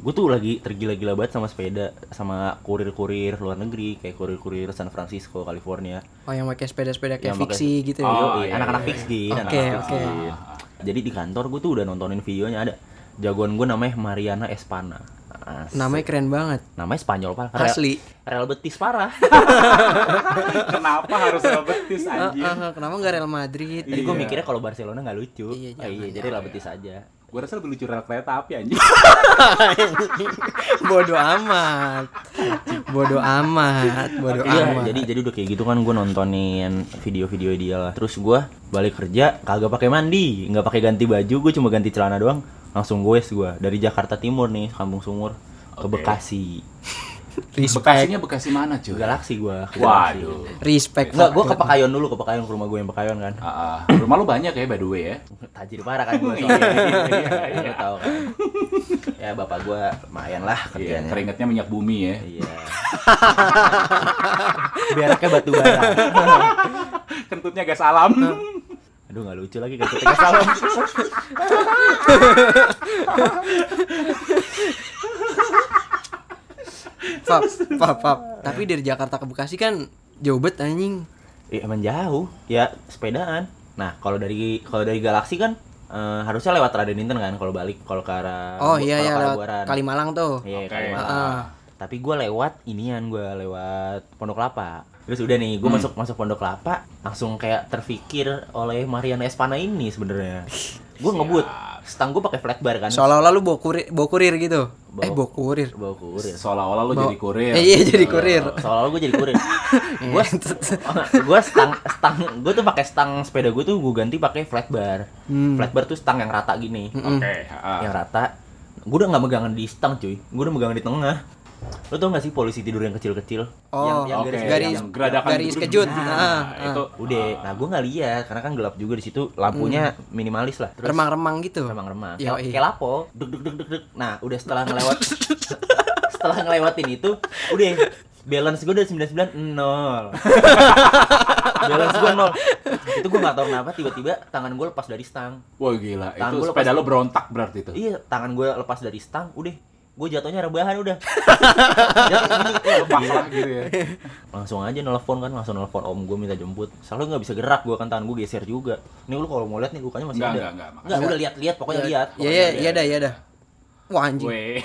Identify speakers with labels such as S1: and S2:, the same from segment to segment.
S1: gue tuh lagi tergila-gila banget sama sepeda sama kurir-kurir luar negeri kayak kurir-kurir San Francisco California
S2: Oh yang pakai sepeda-sepeda kayak
S1: Yang pakai-
S2: fiksi gitu ya.
S1: Oh,
S3: Oh, iya,
S1: anak-anak
S3: iya,
S1: fix gin,
S2: Oke,
S1: anak-anak
S2: oke.
S1: fixin. Jadi di kantor gue tuh udah nontonin videonya ada. Jagoan gue namanya Mariana Espana. Asik.
S2: Namanya keren banget.
S1: namanya Spanyol parah. Real-
S2: Asli.
S1: Real Betis parah.
S3: Kenapa harus Real Betis anjir?
S1: Iya.
S2: Ah, ah, kenapa nggak Real Madrid?
S1: jadi gue
S3: Iya.
S1: mikirnya kalau Barcelona nggak lucu.
S2: Iya,
S1: Ah,
S2: jangan,
S1: jadi Real Betis aja.
S3: Gue rasa lebih lucu rel kereta api anjir.
S2: Bodoh amat. Bodoh amat. Bodoh
S1: Iya,
S2: amat.
S1: jadi jadi udah kayak gitu kan gue nontonin video-video dia lah. Terus gue balik kerja kagak pakai mandi, nggak pakai ganti baju, gue cuma ganti celana doang. Langsung goes gue dari Jakarta Timur nih, Kampung Sumur ke
S3: Oke.
S1: Bekasi.
S2: respect.
S3: Bekasinya Bekasi mana cuy?
S1: Galaksi gue.
S3: Waduh.
S2: Respect.
S1: Enggak, gue ke Pakayon dulu, ke Pakayon ke rumah gue yang Pakayon kan.
S3: Ah, ah. rumah lu banyak ya by the way ya.
S1: Tajir parah kan gue
S3: Iya, iya, iya.
S1: Lo tau kan. Ya bapak gue lumayan lah
S3: Iya,
S1: kerjanya.
S3: keringetnya minyak bumi ya.
S1: Iya. Beraknya batu bara.
S3: Kentutnya gas alam.
S1: Aduh nggak lucu lagi kalau kita salam.
S2: Pap, pap, pap. Tapi dari Jakarta ke Bekasi kan jauh bet anjing.
S1: Iya emang jauh. Ya sepedaan. Nah kalau dari kalau dari Galaksi kan eh, harusnya lewat Raden Inten kan kalau balik kalau ke arah
S2: Oh
S1: Ah,
S2: iya
S1: kalau ke
S2: iya
S1: arah
S2: lewat Ah,
S1: Buaran.
S2: Kalimalang tuh.
S1: Iya,
S3: Oke.
S1: Kalimalang.
S2: Heeh.
S1: Tapi gue lewat inian gue lewat Pondok Kelapa. Terus udah nih, gue
S2: Hmm.
S1: masuk masuk Pondok Kelapa, langsung kayak terpikir oleh Mariana Espana ini sebenarnya. Gue ngebut, stang gue pakai flat bar kan.
S2: Seolah-olah lu bawa kurir, bawa kurir gitu. Eh,
S1: Bawa-
S2: bawa kurir.
S1: Bawa kurir.
S3: Seolah-olah lu
S2: Bawa-
S3: jadi kurir.
S2: Eh, iya jadi kurir.
S1: Soalnya gue jadi kurir. gue gue stang stang gue tuh pakai stang sepeda gue tuh gue ganti pakai flat bar.
S2: Hmm.
S1: Flat bar tuh stang yang rata gini.
S3: Oke,
S2: Mm.
S3: ah.
S1: yang rata gue udah nggak megangan di stang cuy gue udah megangan di tengah lo tau gak sih polisi tidur yang kecil-kecil
S2: Oh,
S1: yang, yang
S3: Oke,
S1: garis,
S2: garis-
S1: yang-
S3: geradakan
S2: garis
S3: gitu.
S2: kejut.
S3: Nah,
S2: Ah,
S3: itu Ah.
S1: udah nah gue nggak lihat karena kan gelap juga di situ lampunya minimalis lah terus
S2: Remang-remang gitu.
S1: remang-remang
S2: Yoi.
S1: kayak kayak lapo deg deg deg deg deg nah udah setelah ngelewat setelah ngelewatin itu udah balance gue udah 99 nol balance gue nol itu gue nggak tahu kenapa tiba-tiba tangan gue lepas dari stang
S3: Wah gila,
S1: Tangan
S3: itu
S1: gua
S3: sepeda
S1: lepas-
S3: lu berontak berarti itu.
S1: Iya, tangan gue lepas dari stang, udah gue jatuhnya rebahan udah.
S3: Pasrah gitu ya.
S1: langsung aja nelfon kan, langsung nelfon om gue minta jemput. Soalnya nggak bisa gerak gue kan tangan gue geser juga. Nih lu kalau mau lihat nih lukanya masih
S3: Enggak,
S1: ada.
S3: enggak, enggak, makasih.
S1: udah lihat-lihat pokoknya lihat.
S2: Iya
S1: pokoknya
S2: iya
S1: lihat.
S2: iya dah iya dah. Wah anjing.
S3: Weh.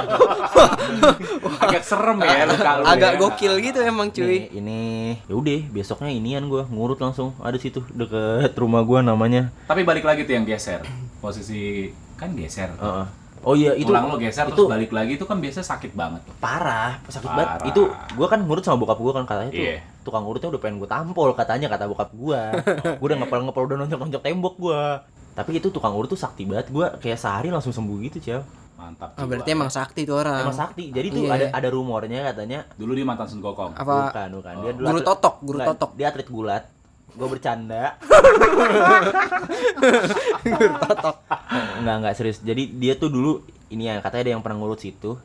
S3: Agak serem ya luka lu
S2: Ah, Agak
S3: ya.
S2: gokil gitu emang
S1: Nih,
S2: cuy.
S1: ini ya udah besoknya inian gue ngurut langsung ada situ deket rumah gue namanya
S3: Tapi balik lagi tuh yang geser. Posisi kan geser.
S1: Heeh. oh iya itu
S3: itu ulang lo
S1: itu
S3: geser terus balik lagi itu kan biasanya sakit banget tuh.
S1: parah sakit
S3: Parah.
S1: banget itu gue kan ngurut sama bokap gue kan katanya tuh
S3: Iya.
S1: tukang urutnya udah pengen gue tampol katanya kata bokap gue gue udah ngepel ngepel udah nonjok nonjok tembok gue tapi itu tukang urut tuh sakti banget gue kayak sehari langsung sembuh gitu cewek
S3: Mantap.
S2: Ah,
S3: jiwa.
S2: berarti emang sakti tuh orang.
S1: emang sakti jadi tuh
S2: Iya.
S1: ada ada rumornya katanya
S3: dulu dia mantan Sun Gokong.
S2: Apa Oh.
S1: bukan bukan dia dulu
S2: guru
S1: atlet-
S2: totok, guru
S1: Enggak,
S2: totok.
S1: dia atlet gulat gue bercanda
S2: guru totok.
S1: Enggak enggak serius. Jadi dia tuh dulu ini ya katanya ada yang pernah ngurut situ.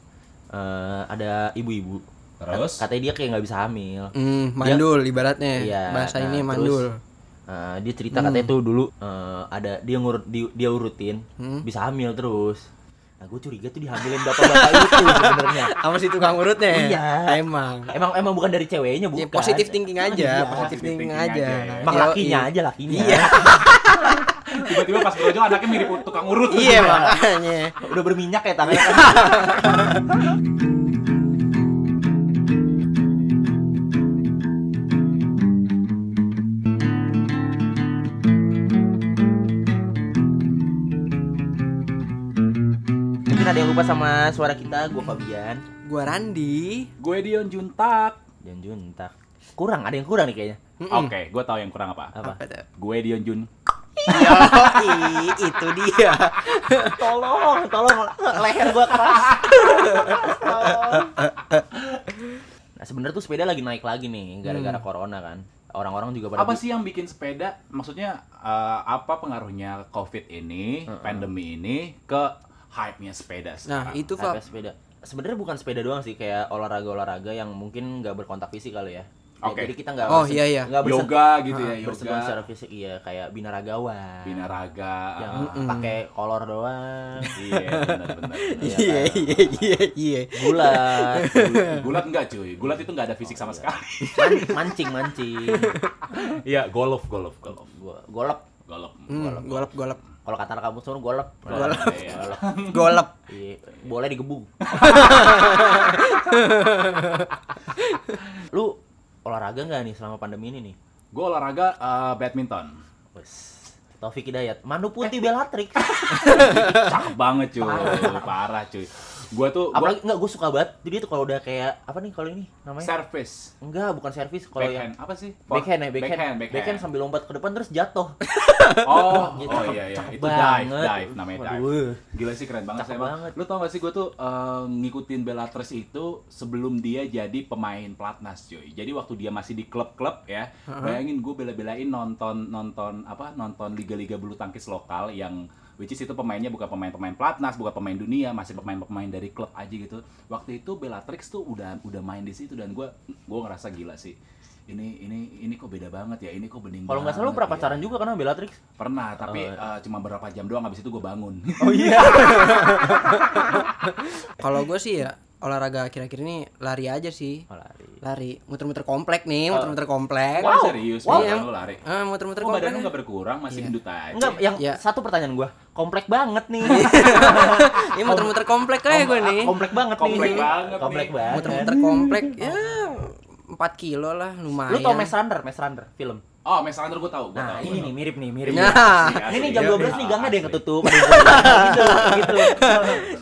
S1: eh ada ibu-ibu.
S3: Terus?
S1: Kat- katanya dia kayak nggak bisa hamil.
S2: Hmm, mandul ibaratnya.
S1: Iya,
S2: Bahasa
S1: nah,
S2: ini
S1: terus,
S2: mandul.
S1: eh, dia cerita
S2: Hmm.
S1: katanya tuh dulu eh, ada dia ngurut di- dia urutin
S2: Hmm?
S1: bisa hamil terus. Nah, gue curiga tuh dihamilin bapak-bapak itu sebenarnya.
S2: Apa sih tukang urutnya?
S1: Iya.
S2: Emang.
S1: Emang emang bukan dari ceweknya, bukan.
S2: Ya, positive thinking aja,
S1: Iya.
S2: positive thinking,
S3: thinking
S2: aja.
S3: aja ya.
S1: Emang
S2: Yoi.
S1: lakinya aja lakinya.
S2: Iya.
S3: Tiba-tiba pas brojol anaknya mirip tukang urut.
S2: Iya makanya.
S1: Udah berminyak ya tangannya. Mungkin ada yang lupa sama suara kita, gue Fabian
S2: Gua Randi.
S3: Gue Dion Juntak.
S1: dan Juntak. Kurang, ada yang kurang nih kayaknya.
S3: Oke, gue tahu yang kurang apa.
S1: Apa?
S2: tuh?
S3: Gue Dion Jun.
S2: Yoi, itu dia.
S1: Tolong, tolong leher gua keras. nah, sebenarnya tuh sepeda lagi naik lagi nih gara-gara corona kan. Orang-orang juga pada
S3: Apa sih yang bikin sepeda? Maksudnya eh, apa pengaruhnya COVID ini, pandemi ini ke hype-nya sepeda?
S2: Nah,
S3: sekarang?
S2: itu
S1: naik
S2: Fab.
S1: sepeda. Sebenarnya bukan sepeda doang sih kayak olahraga-olahraga yang mungkin nggak berkontak fisik kali ya. Ya,
S3: Oke.
S1: jadi kita nggak
S2: Oh,
S1: bersen-
S2: iya, iya.
S1: nggak bersen-
S3: yoga gitu
S2: Ah,
S3: ya, yoga,
S1: bersentuhan secara fisik iya kayak binaragawan.
S3: binaraga.
S2: Ya.
S1: Jangan
S3: ah,
S1: pakai kolor doang.
S3: Iya, benar-benar.
S2: Iya iya
S1: kan?
S2: iya iya.
S1: Bulat.
S3: Gulat enggak cuy, gulat itu enggak ada
S1: Oh,
S3: fisik
S1: iya.
S3: sama sekali.
S1: Man- mancing mancing.
S3: Iya, golf, golf, golf,
S1: Gua golep.
S3: golf.
S2: Hmm, golep golep
S1: Kalau kata kamu semua golep.
S3: Golep.
S1: Golep.
S2: golep.
S1: Iya, boleh digebung. Lu olahraga nggak nih selama pandemi ini nih?
S3: Gue olahraga eh, badminton.
S1: Wes. Taufik Hidayat, Manu
S3: Eh,
S1: Putih Bellatrix.
S3: Cakep banget cuy, parah cuy. Gue tuh gua
S1: Apalagi nggak gue suka banget. Jadi itu kalau udah kayak apa nih kalau ini namanya?
S3: service
S1: Enggak, bukan servis kalau yang
S3: backhand apa sih? For-
S1: backhand ya, backhand.
S3: backhand,
S1: Backhand, sambil lompat ke depan terus jatuh.
S3: Oh,
S1: Gitu.
S3: oh iya iya,
S1: Cakep
S3: itu dive,
S1: banget.
S3: dive namanya dive.
S1: Waduh.
S3: Gila sih keren banget
S1: Cakep
S3: saya. Bang.
S1: banget.
S3: Lu tau gak sih gue tuh eh, ngikutin Bellatrix itu sebelum dia jadi pemain pelatnas cuy. Jadi waktu dia masih di klub-klub ya, bayangin gue bela-belain nonton nonton apa nonton liga-liga bulu tangkis lokal yang which is itu pemainnya bukan pemain-pemain pelatnas, bukan pemain dunia, masih pemain-pemain dari klub aja gitu. Waktu itu Bellatrix tuh udah udah main di situ dan gue gue ngerasa gila sih. Ini ini ini kok beda banget ya, ini kok bening.
S1: Kalau nggak salah lu
S3: banget
S1: pernah
S3: ya.
S1: pacaran Oh, iya. juga karena Bellatrix.
S3: Pernah, tapi eh, cuma beberapa jam doang habis itu gue bangun.
S1: Oh iya.
S2: Kalau gue sih ya olahraga akhir-akhir ini lari aja sih. Lari, muter-muter komplek nih, muter-muter komplek.
S3: Wah, Eh, serius,
S2: Wow.
S3: wow. Oh, lu lari.
S2: Eh, muter-muter
S3: Kok badan lu
S2: komplek.
S3: gak berkurang, masih
S2: Iya.
S3: gendut aja.
S1: Enggak, yang
S2: Iya.
S1: satu pertanyaan gua, komplek banget nih.
S2: Ini Iya, muter-muter komplek aja gue nih.
S1: Komplek banget nih.
S3: Komplek banget
S1: Komplek
S3: nih.
S1: banget.
S2: Muter-muter komplek ya 4 kilo lah lumayan.
S1: Lu tau Maze Runner, Maze Runner film.
S3: Oh, Maze Runner gue tau, gue
S1: Nah,
S3: tau.
S1: ini nih mirip
S3: Iya,
S1: nih, mirip.
S2: Nah.
S1: Asli, Ini nih jam 12 nih gangnya ada yang ketutup. ada yang ketutup. gitu, gitu.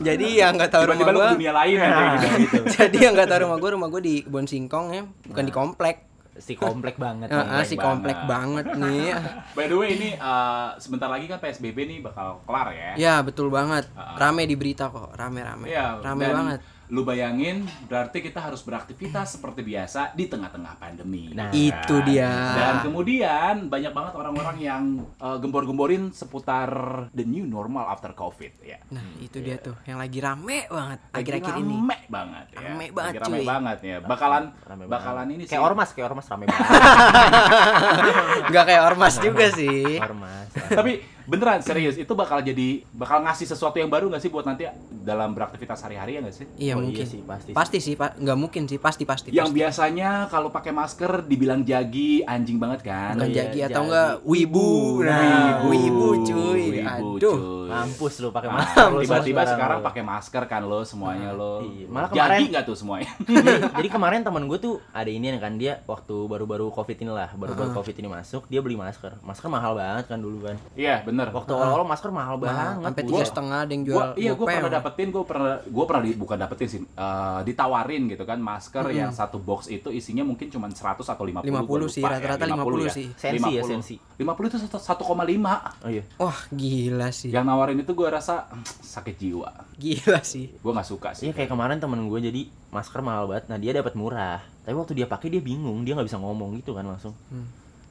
S2: Jadi yang nggak tahu rumah
S3: Tiba-tiba lu
S2: gue.
S3: ke dunia lain aja
S1: Nah.
S3: gitu. gitu.
S2: Jadi yang nggak tahu rumah gue, rumah gue di kebun singkong ya, bukan di komplek.
S1: Si komplek banget. nih.
S2: Heeh, si komplek banget nih.
S3: By the way, ini eh, sebentar lagi kan PSBB nih bakal kelar ya.
S2: Ya betul banget. Rame di berita kok, rame-rame.
S3: Iya,
S2: Rame
S3: dan
S2: banget.
S3: Lu bayangin, berarti kita harus beraktivitas seperti biasa di tengah-tengah pandemi.
S1: Nah,
S3: gitu
S2: itu dia.
S3: Dan kemudian banyak banget orang-orang yang eh, gembor-gemborin seputar the new normal after COVID ya.
S2: Nah, itu dia tuh yang lagi rame banget
S3: Lagi
S2: akhir-akhir ini.
S3: Rame banget ya.
S2: Rame
S3: Lagi
S2: banget,
S3: rame
S2: cuy.
S3: banget ya. Bakalan
S1: Rame banget.
S3: bakalan ini sih.
S1: Kayak ormas, kayak ormas rame
S2: Iya.
S1: banget.
S2: Nggak kayak ormas juga sih.
S1: Ormas.
S2: Iya,
S1: Oh
S3: Tapi beneran serius itu bakal jadi bakal ngasih sesuatu yang baru nggak sih buat nanti dalam beraktivitas sehari-hari ya nggak sih?
S2: Iya
S1: Oh, iya
S2: mungkin.
S1: sih, pasti sih.
S2: Pasti sih, Pak. Nggak mungkin sih, pasti pasti.
S1: Iya,
S3: Yang
S2: pasti.
S3: biasanya kalau pakai masker dibilang jagi anjing banget kan?
S2: Bukan
S1: Iya,
S2: jagi atau
S1: jadi.
S2: enggak wibu. Nah, wibu, cuy.
S3: Wibu,
S2: Aduh.
S3: cuy.
S1: Mampus lu pakai
S3: Ah,
S1: masker. lu
S3: Tiba-tiba
S1: semua
S3: sekarang
S1: lu.
S3: pakai masker kan lo semuanya lo.
S1: Iya, malah
S3: Jadi
S1: kemarin-
S3: nggak tuh semuanya?
S1: jadi, jadi kemarin teman gue tuh ada ini kan dia waktu baru-baru covid inilah baru-baru covid ini masuk dia beli masker masker mahal banget kan dulu kan
S3: Iya bener.
S1: waktu awal-awal masker mahal
S2: Mahal,
S1: banget
S2: sampai
S1: Bu.
S2: tiga setengah ada yang jual.
S3: gua, iya gue
S2: gopeng.
S3: pernah dapetin gue pernah gue pernah di- bukan dapetin sih eh, ditawarin gitu kan masker yang satu box itu isinya mungkin cuma 100 atau 50
S2: 50
S3: gua
S2: sih,
S3: lupa ya,
S2: rata-rata 50 sih.
S1: Sensi ya, sensi.
S3: 50 itu satu- 1,5
S1: oh iya
S2: Wah, gila sih.
S3: yang nawarin itu gue rasa "Hmm, sakit jiwa
S2: Gila sih.
S3: gue nggak suka
S1: Iya
S3: sih
S1: kayak kemarin temen gue jadi masker mahal banget, nah dia dapat murah. Tapi waktu dia pakai dia bingung, dia nggak bisa ngomong gitu kan langsung.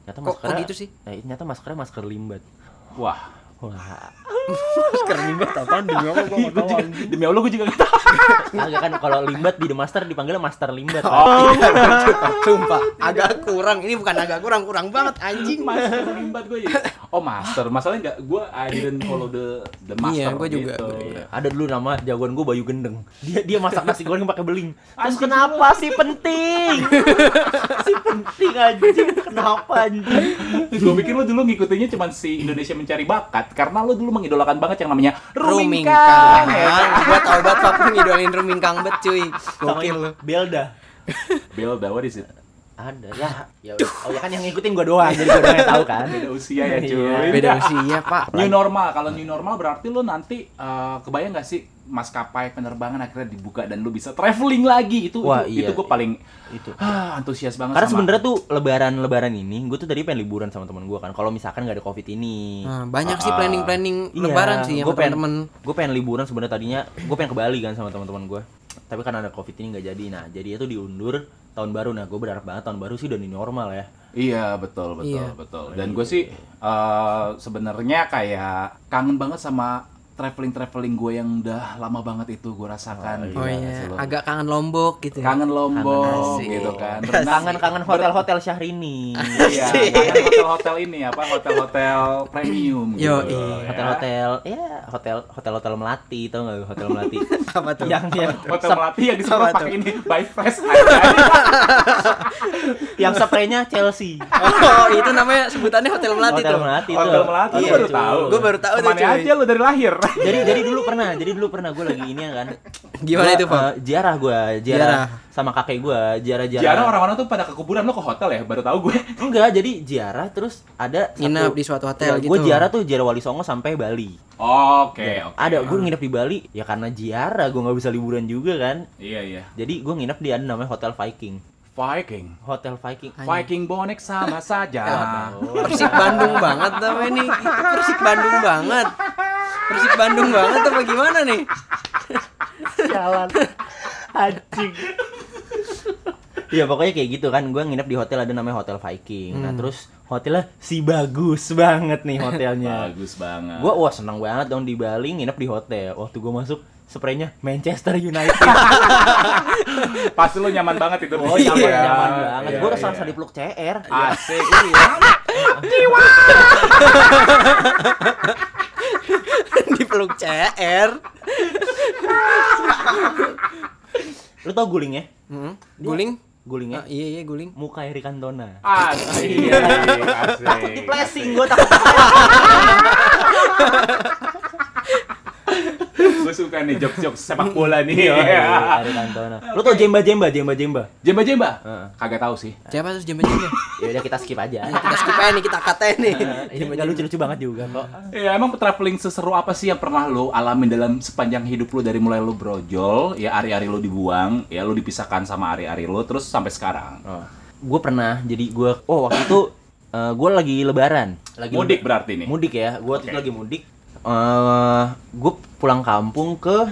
S1: Nyata
S2: Kok-
S1: maskernya
S2: kok gitu sih?
S1: Nah, nyata maskernya masker limbat.
S2: Iya.
S3: wah
S1: Wah,
S2: Sekarang juga apaan demi Allah gua nggak
S3: Gua juga- demi allah gue juga nggak tahu
S1: agak kan kalau limbat di The Master dipanggilnya Master Limbat. kan?
S3: oh,
S2: tahu. Iya, Sumpah, agak kurang. Ini bukan agak kurang, kurang banget anjing.
S3: master limbat gue ya oh master masalahnya nggak gue I didn't follow the the master
S2: Iya, gua juga,
S3: gitu.
S2: gua juga.
S3: Iya.
S1: Ada dulu nama jagoan gue Bayu Gendeng. Dia dia masak nasi goreng pakai beling. Terus kenapa sih penting? si penting anjing. Kenapa anjing?
S3: gue pikir lo dulu ngikutinnya cuma si Indonesia mencari bakat karena lo dulu mengidolakan banget yang namanya
S2: Rumingkang.
S3: Rumingkang. ya.
S2: Gua tau banget Pak ngidolin Rumingkang bet cuy.
S1: Sama
S2: Gokil lu.
S1: Belda.
S3: Belda, what is it?
S1: Ada ya. Ya oh ya kan yang ngikutin gue doang jadi gue doang yang tahu kan.
S3: Beda usia ya
S1: Iya.
S3: cuy.
S2: Beda usia, Pak.
S3: New normal, kalau new normal berarti lo nanti eh, kebayang gak sih maskapai penerbangan akhirnya dibuka dan lo bisa traveling lagi itu
S1: Wah,
S3: itu,
S1: iya.
S3: gue paling
S1: Itu.
S3: ah, antusias banget
S1: Karena
S3: sama-
S1: sebenarnya tuh lebaran-lebaran ini, gue tuh tadi pengen liburan sama teman gue kan. Kalau misalkan nggak ada covid ini,
S2: Nah,
S3: Hmm.
S2: banyak sih planning-planning
S1: Ah, Iya,
S2: lebaran sih sama
S1: gua pengen-
S2: temen-temen.
S1: Gue pengen liburan sebenarnya tadinya, gue pengen ke Bali kan sama teman-teman gue. Tapi karena ada covid ini nggak jadi. Nah, jadi itu diundur tahun baru. Nah, gue berharap banget tahun baru sih udah new normal ya.
S3: Iya betul betul
S2: Iya.
S3: betul. Dan gue sih eh, sebenarnya kayak kangen banget sama traveling traveling gue yang udah lama banget itu gue rasakan.
S2: Oh
S3: Gila
S2: iya,
S3: gak sih lo?
S2: agak kangen Lombok gitu. ya.
S3: kangen Lombok
S2: Asik.
S3: gitu kan. Renang-
S1: Kangen-kangen hotel-hotel Syahrini.
S3: Iya, kangen hotel-hotel ini apa hotel-hotel premium gitu.
S2: Yoi.
S3: ya.
S1: Hotel-hotel, ya hotel hotel-hotel Melati tau nggak hotel Melati?
S2: Apa tuh?
S1: yang yang
S3: Hotel
S1: sep-
S3: Melati yang disuruh
S2: Apa
S3: pakai ini by fresh aja.
S1: yang spraynya Chelsea.
S2: Oh, itu namanya sebutannya Hotel Melati
S1: hotel
S2: tuh.
S1: Melati tuh.
S3: Hotel Melati,
S1: Iya,
S3: lu baru
S1: cuy.
S3: tahu.
S2: Gua baru tahu tuh,
S3: Kemana
S2: cuy.
S3: aja lu dari lahir.
S1: Jadi jadi dulu pernah, jadi dulu pernah gue lagi ini kan.
S2: Gimana
S1: Gua,
S2: itu, Pak?
S1: eh, Ziarah gue,
S2: Ziarah.
S1: ziarah sama kakek gue, ziarah-ziarah.
S3: Jarang orang-orang tuh pada ke kuburan lo ke hotel ya, baru tahu gue.
S1: Enggak, jadi ziarah terus ada
S2: Nginep di suatu hotel
S1: Gue
S2: gitu.
S1: Iya, ziarah tuh ziarah Wali Songo sampai Bali.
S3: Oke, Eh,
S1: Ya.
S3: oke.
S1: Ada gue nginep di Bali ya karena ziarah gue nggak bisa liburan juga kan.
S3: Iya, iya.
S1: Jadi gue nginep di ada namanya Hotel Viking.
S3: Viking.
S1: Hotel Viking.
S2: Anjing.
S3: Viking bonek sama saja.
S2: Persik Bandung banget namanya nih. Persik Bandung banget. Persik Bandung banget apa gimana nih?
S1: Jalan. Anjing. Ya pokoknya kayak gitu kan, gue nginep di hotel ada namanya Hotel Viking.
S2: Hmm.
S1: Nah terus hotelnya si bagus banget nih hotelnya.
S3: Bagus banget.
S1: gue wah seneng banget dong di Bali nginep di hotel. Waktu gue masuk spraynya Manchester United.
S3: Pasti lo nyaman banget itu.
S1: Oh nyaman, nyaman banget.
S3: Iya,
S1: gue
S3: iya.
S1: rasa-rasa dipeluk CR.
S3: Asik. Iya.
S2: Dipeluk CR.
S1: Lu tau gulingnya?
S2: Hmm, Guling? Ah,
S1: Gulingnya
S2: iya iya guling.
S1: muka Eri Cantona.
S3: Asik. Asik.
S1: Di flashing gue takut.
S3: Gue suka nih jok-jok sepak bola nih.
S1: Iya, Eri Cantona. Lu tau Jemba Jemba Jemba Jemba?
S3: Jemba-jemba?
S1: Heeh.
S3: Kagak tahu sih.
S2: Siapa terus jembat-jembat?
S1: Ya udah kita skip aja.
S3: Iya.
S2: Kita skip aja nih, kita katain nih.
S1: Ini nggak lucu-lucu banget juga kok.
S3: Ya emang traveling seseru apa sih yang pernah lo alamin dalam sepanjang hidup lo dari mulai lo brojol, ya ari-ari lo dibuang, ya lo dipisahkan sama ari-ari lo terus sampai sekarang.
S1: Gue pernah jadi gue oh waktu itu gue lagi lebaran, lagi
S3: Mudik
S1: lebaran.
S3: berarti nih.
S1: Mudik ya, gue waktu itu
S3: Oke.
S1: lagi mudik. gue pulang kampung ke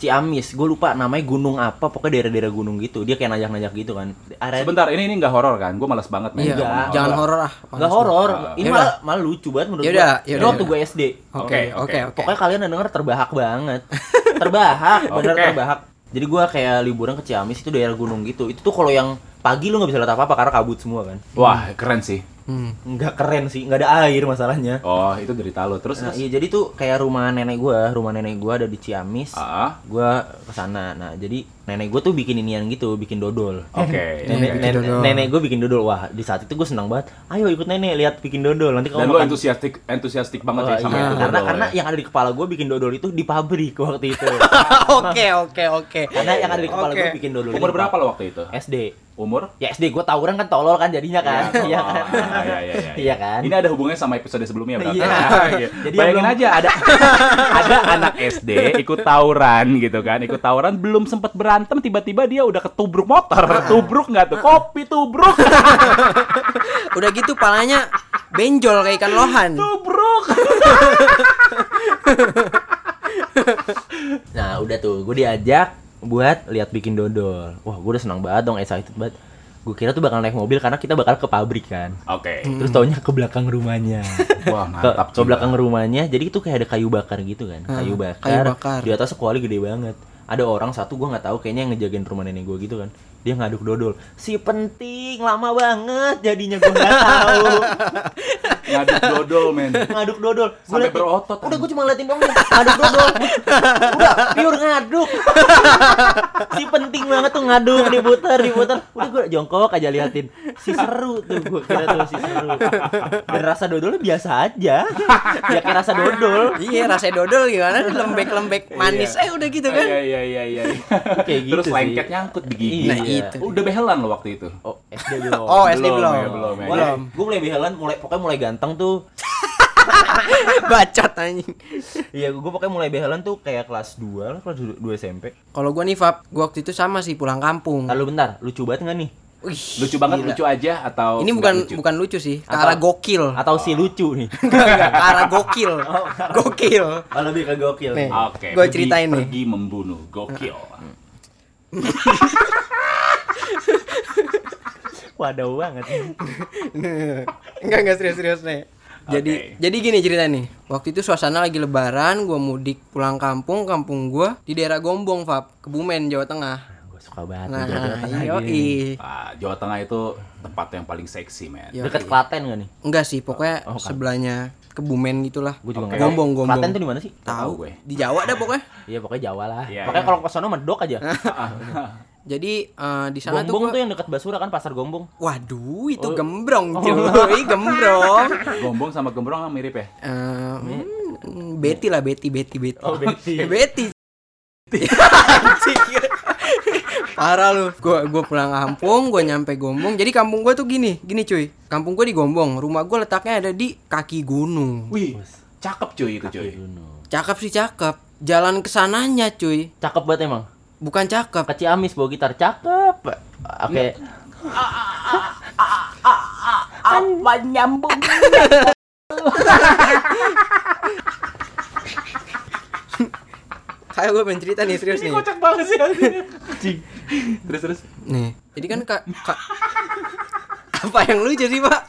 S1: Ciamis, gue lupa namanya gunung apa, pokoknya daerah-daerah gunung gitu. Dia kayak najak-najak gitu kan. Area
S3: Sebentar, ini ini nggak horor kan? Gue malas banget main.
S2: Iya,
S1: Enggak.
S2: jangan horor ah. Panas
S1: Enggak horor.
S3: banget.
S1: Ini
S2: Yaudah.
S1: malah, malah lucu banget menurut
S2: Yaudah,
S1: gua.
S2: yaudah,
S1: Ini waktu
S2: yaudah.
S1: gue SD.
S2: Oke,
S3: Oke,
S2: oke,
S3: oke.
S2: oke.
S1: Pokoknya kalian denger terbahak banget. terbahak, bener
S3: Oke.
S1: terbahak. Jadi gua kayak liburan ke Ciamis itu daerah gunung gitu. Itu tuh kalau yang pagi lu nggak bisa lihat apa-apa karena kabut semua kan.
S3: Wah keren sih.
S2: Hmm.
S1: Nggak keren sih, nggak ada air masalahnya.
S3: Oh itu derita lo terus.
S1: Nah,
S3: terus.
S1: iya, jadi tuh kayak rumah nenek gua, rumah nenek gua ada di Ciamis.
S3: Ah,
S1: Gua kesana. Nah, jadi nenek gua tuh bikin inian gitu, bikin dodol.
S3: oke.
S1: Nenek,
S2: Iya, bikin
S1: nenek,
S2: dodol.
S1: nenek gue bikin dodol wah di saat itu gue seneng banget ayo ikut nenek lihat bikin dodol nanti
S3: Dan
S1: kamu
S3: lo
S1: makan
S3: entusiastik entusiastik banget
S1: Oh,
S3: ya sama
S1: iya.
S3: itu.
S1: karena
S3: dodol
S1: karena
S3: ya.
S1: yang ada di kepala gue bikin dodol itu di pabrik waktu itu
S2: Oke, oke, oke.
S1: karena yang ada di kepala
S2: Oke.
S1: gue bikin dodol
S3: umur
S1: itu
S3: berapa lo waktu itu?
S1: SD
S3: Umur?
S1: ya SD gue tawuran kan tolol kan jadinya kan
S3: Iya,
S1: iya
S3: oh,
S1: kan
S3: ah, iya, iya, iya.
S1: Iya kan?
S3: Ini ada hubungannya sama episode sebelumnya berarti.
S1: Iya.
S3: Iya.
S1: Jadi
S3: Bayangin
S1: belum-
S3: aja ada ada anak SD ikut tawuran gitu kan, ikut tawuran belum sempat berantem tiba-tiba dia udah ketubruk motor, tubruk nggak tuh? Kopi tubruk,
S2: Udah gitu palanya benjol kayak ikan lohan.
S3: tubruk.
S1: nah udah tuh gue diajak buat lihat bikin dodol wah gue udah senang banget dong excited banget gue kira tuh bakal naik mobil karena kita bakal ke pabrik kan
S3: Oke.
S1: terus
S2: Hmm.
S1: taunya ke belakang rumahnya
S3: Wah,
S1: ke,
S3: mantap.
S1: ke belakang rumahnya jadi itu kayak ada kayu bakar gitu kan kayu bakar,
S2: kayu bakar.
S1: di atas kuali gede banget ada orang satu gua nggak tahu kayaknya yang ngejagain rumah nenek gua gitu kan dia ngaduk dodol si penting lama banget jadinya gua nggak tahu
S3: Ngaduk dodol, men.
S1: ngaduk dodol Gua
S3: Sampai
S1: liatin.
S3: berotot,
S1: udah gua cuma ngeliatin doang dia ngaduk dodol udah pure ngaduk si penting banget tuh ngaduk diputar diputar udah gua jongkok aja liatin si seru tuh gua kira tuh si seru dan rasa dodolnya biasa aja ya kayak rasa dodol
S2: Iya, rasanya dodol gimana lembek-lembek manis. Eh udah gitu kan.
S3: Iya, iya, iya, iya.
S1: Kayak gitu
S3: Terus
S1: sih.
S3: lengket nyangkut di gigi.
S1: Iya.
S2: Nah, itu.
S3: Udah behelan lo waktu itu.
S1: Oh, SD belum.
S2: Oh, SD belum.
S3: ya, belum, ya.
S1: Mulai, gue mulai behelan, mulai pokoknya mulai ganteng tuh.
S2: Bacot anjing.
S1: Iya, gue pokoknya mulai behelan tuh kayak kelas 2 lah, kelas 2 SMP.
S2: Kalau gua nih Fab, gua waktu itu sama sih pulang kampung.
S1: Lalu bentar, lucu banget nggak nih?
S2: Wih,
S3: Lucu banget,
S2: gila.
S3: lucu aja atau
S2: Ini
S3: nggak
S2: bukan
S3: lucu?
S2: bukan lucu sih, ke
S1: Apa?
S2: arah gokil.
S1: Atau si lucu nih?
S2: Enggak, enggak, ke arah gokil. Gokil.
S1: Oh, lebih ke gokil.
S2: Nih.
S3: Oke.
S2: Gua
S3: pergi-
S2: ceritain nih.
S3: Pergi membunuh, gokil.
S1: Waduh banget.
S2: Enggak enggak serius-serius nih. Jadi jadi gini cerita nih. Waktu itu suasana lagi lebaran, gua mudik pulang kampung, kampung gua di daerah Gombong, Fab, Kebumen, Jawa Tengah.
S1: Gue suka banget nih,
S2: Nah,
S1: Jawa Tengah gini.
S2: yoi.
S3: Ah, Jawa Tengah itu tempat yang paling seksi, men.
S2: Yoi.
S1: Dekat Klaten gak nih?
S2: Enggak sih, pokoknya sebelahnya Kebumen gitulah.
S1: Gue Oh, juga
S3: Oke.
S1: nggak tahu.
S2: Gombong, gombong.
S1: Klaten tuh di mana sih?
S2: Tahu
S3: gue.
S2: Di Jawa dah pokoknya.
S1: Iya pokoknya Jawa lah.
S3: Iya,
S1: Makanya
S3: iya.
S1: kalau ke sono medok aja.
S2: Jadi eh, di sana tuh
S1: Gombong
S2: gua
S1: tuh Oh. yang dekat Basura kan pasar Gombong.
S2: Waduh, itu gembrong, cuy, gembrong.
S3: Gombong sama gembrong kan mirip ya?
S2: Eh, hmm, Betty lah, Betty, Betty, Betty.
S1: Oh, Betty.
S2: Eh, Betty. Anjing. Parah lu. Gua gua pulang kampung, gua nyampe Gombong. Jadi kampung gua tuh gini, gini cuy. Kampung gua di Gombong, rumah gua letaknya ada di kaki gunung.
S3: Wih, cakep cuy itu
S1: Iya.
S3: cuy.
S2: Cakep sih cakep. Jalan kesananya cuy,
S1: Cakep banget emang.
S2: bukan cakep.
S1: Ke Ciamis bawa gitar cakep. Oke.
S3: Apa nyambung?
S2: Kayak gua pengen cerita nih serius nih.
S3: Kocak banget sih anjing. Terus terus.
S2: Nih, jadi kan kak, Kak- apa yang lucu sih pak?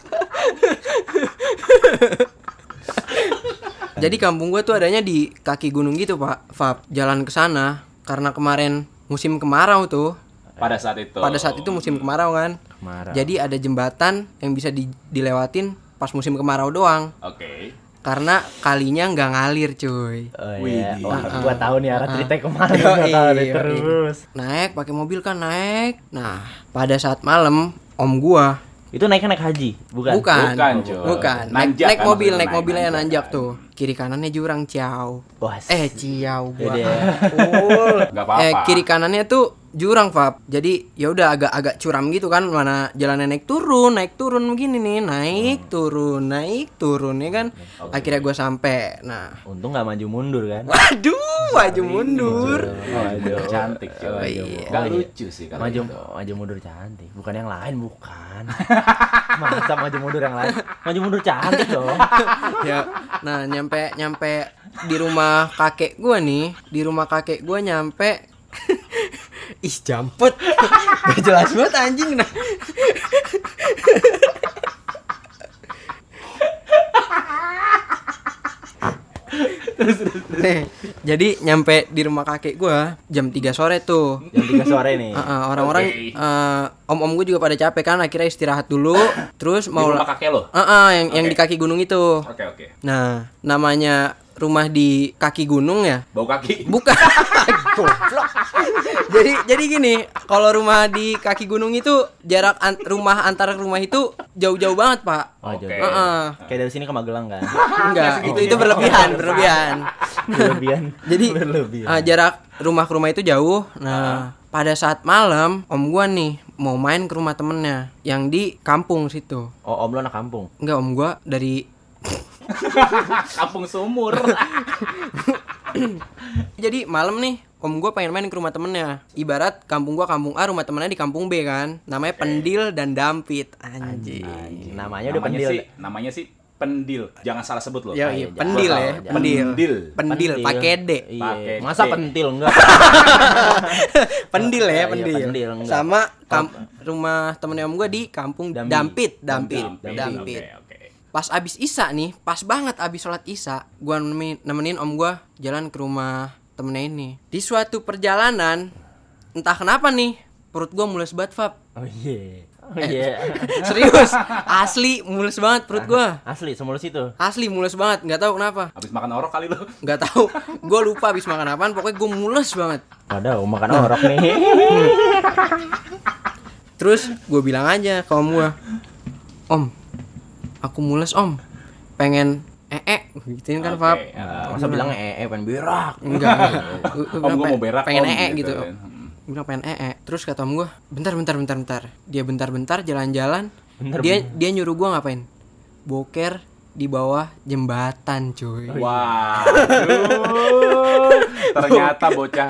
S2: jadi kampung gue tuh adanya di kaki gunung gitu pak, Fab. Jalan ke sana karena kemarin musim kemarau tuh.
S3: Pada saat itu.
S2: Pada saat itu musim kemarau kan.
S1: Kemarau.
S2: Jadi ada jembatan yang bisa di- dilewatin pas musim kemarau doang.
S3: Oke.
S2: Karena kalinya nggak ngalir cuy.
S1: Oh,
S3: Wih,
S1: iya. Wah, gua tahu nih arah cerita kemana
S2: Yoi,
S1: gua tahu nih
S2: yoi.
S1: terus.
S2: Naik pakai mobil kan naik. Nah pada saat malam om gua
S1: Itu naiknya naik haji, bukan?
S2: Bukan.
S3: Bukan, cuy.
S2: Bukan. Naik,
S3: Nanjak
S2: naik
S3: kan
S2: mobil,
S3: maksudnya,
S2: naik
S3: naik
S2: mobilnya
S3: nanjak
S2: nanjak
S3: kan.
S2: tuh. Kiri kanannya jurang ciao.
S1: Wah,
S2: Eh, ciao gua.
S1: Jadi ya.
S2: Cool.
S3: Nggak apa-apa.
S2: Eh, kiri kanannya tuh jurang, Fab. Jadi ya udah agak agak curam gitu kan, mana jalannya naik turun, naik turun begini nih, naik turun, naik turun ya kan. Akhirnya gua sampai. Nah,
S1: untung nggak maju mundur kan?
S2: waduh, maju mundur.
S3: Waduh, cantik
S2: Oh,
S3: cuy.
S2: iya.
S3: Gak lucu sih kalau
S1: maju
S3: gitu.
S1: maju mundur cantik bukan yang lain bukan masa maju mundur yang lain maju mundur cantik dong
S2: ya nah nyampe nyampe di rumah kakek gua nih di rumah kakek gua nyampe ih jampet gak jelas banget anjing nah Nih, jadi nyampe di rumah kakek gua jam 3 sore tuh
S1: jam tiga sore nih
S2: Ah, ah, orang-orang eh, om-om gue juga pada capek kan akhirnya istirahat dulu terus
S3: Di
S2: mau
S3: rumah kakek lo.
S2: Ah, ah, yang yang
S3: Oke.
S2: di kaki gunung itu
S3: Oke oke.
S2: Nah, namanya rumah di kaki gunung ya?
S3: Bau kaki.
S2: Bukan. Goblok. jadi jadi gini, kalau rumah di kaki gunung itu jarak an- rumah antar rumah itu jauh-jauh banget, Pak.
S1: oh,
S3: Oke.
S1: jodoh.
S2: Heeh.
S1: kayak dari sini ke Magelang kan
S2: Enggak, itu itu berlebihan, berlebihan.
S1: berlebihan
S2: Jadi
S1: berlebihan
S2: ah, jarak rumah ke rumah itu jauh. Nah, pada saat malam om gua nih mau main ke rumah temennya yang di kampung situ.
S1: oh om lo anak kampung
S2: Enggak, om gua dari
S3: Nah, Kampung sumur.
S2: Jadi malam nih om gue pengen main ke rumah temennya Ibarat kampung gua kampung A rumah temennya di kampung B kan Namanya Pendil dan Dampit Anjing
S1: Anjing, Iya, namanya udah pendil
S3: Sih, namanya sih pendil. Jangan salah sebut lo.
S2: Ya
S1: iya,
S2: iya
S1: jangan
S2: Pendil
S1: salah,
S2: ya
S1: jangan.
S2: Pendil
S3: Pendil.
S2: Pendil pakai D
S1: Iya.
S3: Pakai
S1: masa
S3: D.
S1: pentil enggak
S2: Pendil
S1: Iya,
S2: ya
S1: Pendil,
S2: Pendil
S1: enggak.
S2: Sama kam- rumah temennya om gue di kampung
S1: Dambi.
S2: Dampit Dampit
S3: Dampit.
S2: Dampit
S3: Oke oke.
S2: Pas abis isa nih Pas banget abis sholat isa Gue nemenin, nemenin om gue jalan ke rumah temennya ini Di suatu perjalanan Entah kenapa nih Perut gue mulus banget Fab
S1: oh iya oh
S2: Eh.
S1: iya
S2: Serius, asli mulus banget perut gua.
S1: asli semulus itu
S2: Asli mulus banget, nggak tahu kenapa.
S3: Abis makan orok kali lo.
S2: Nggak tahu, gua lupa habis makan apaan, pokoknya gua mulus banget.
S1: Waduh, makan orok nih
S2: Terus gua bilang aja ke om gua, "Om, aku mulus, Om. Pengen ee." Gituin kan, Fab.
S3: Oke, ah.
S1: masa bilang eh eh pengen berak
S2: Enggak. Gua- gua
S3: Om
S2: bilang,
S3: gua mau
S2: "Pe-
S3: berak,
S2: Pengen
S3: Om,"
S2: ee
S3: gitu
S2: gitu.
S3: kan.
S2: Gua bilang pengen ee. Terus kata om gua, "Bentar, bentar, bentar, bentar." Dia bentar-bentar jalan-jalan.
S1: Bentar,
S2: Dia dia nyuruh gua ngapain? Boker di bawah jembatan, cuy.
S3: Oh, Wah, ternyata bocah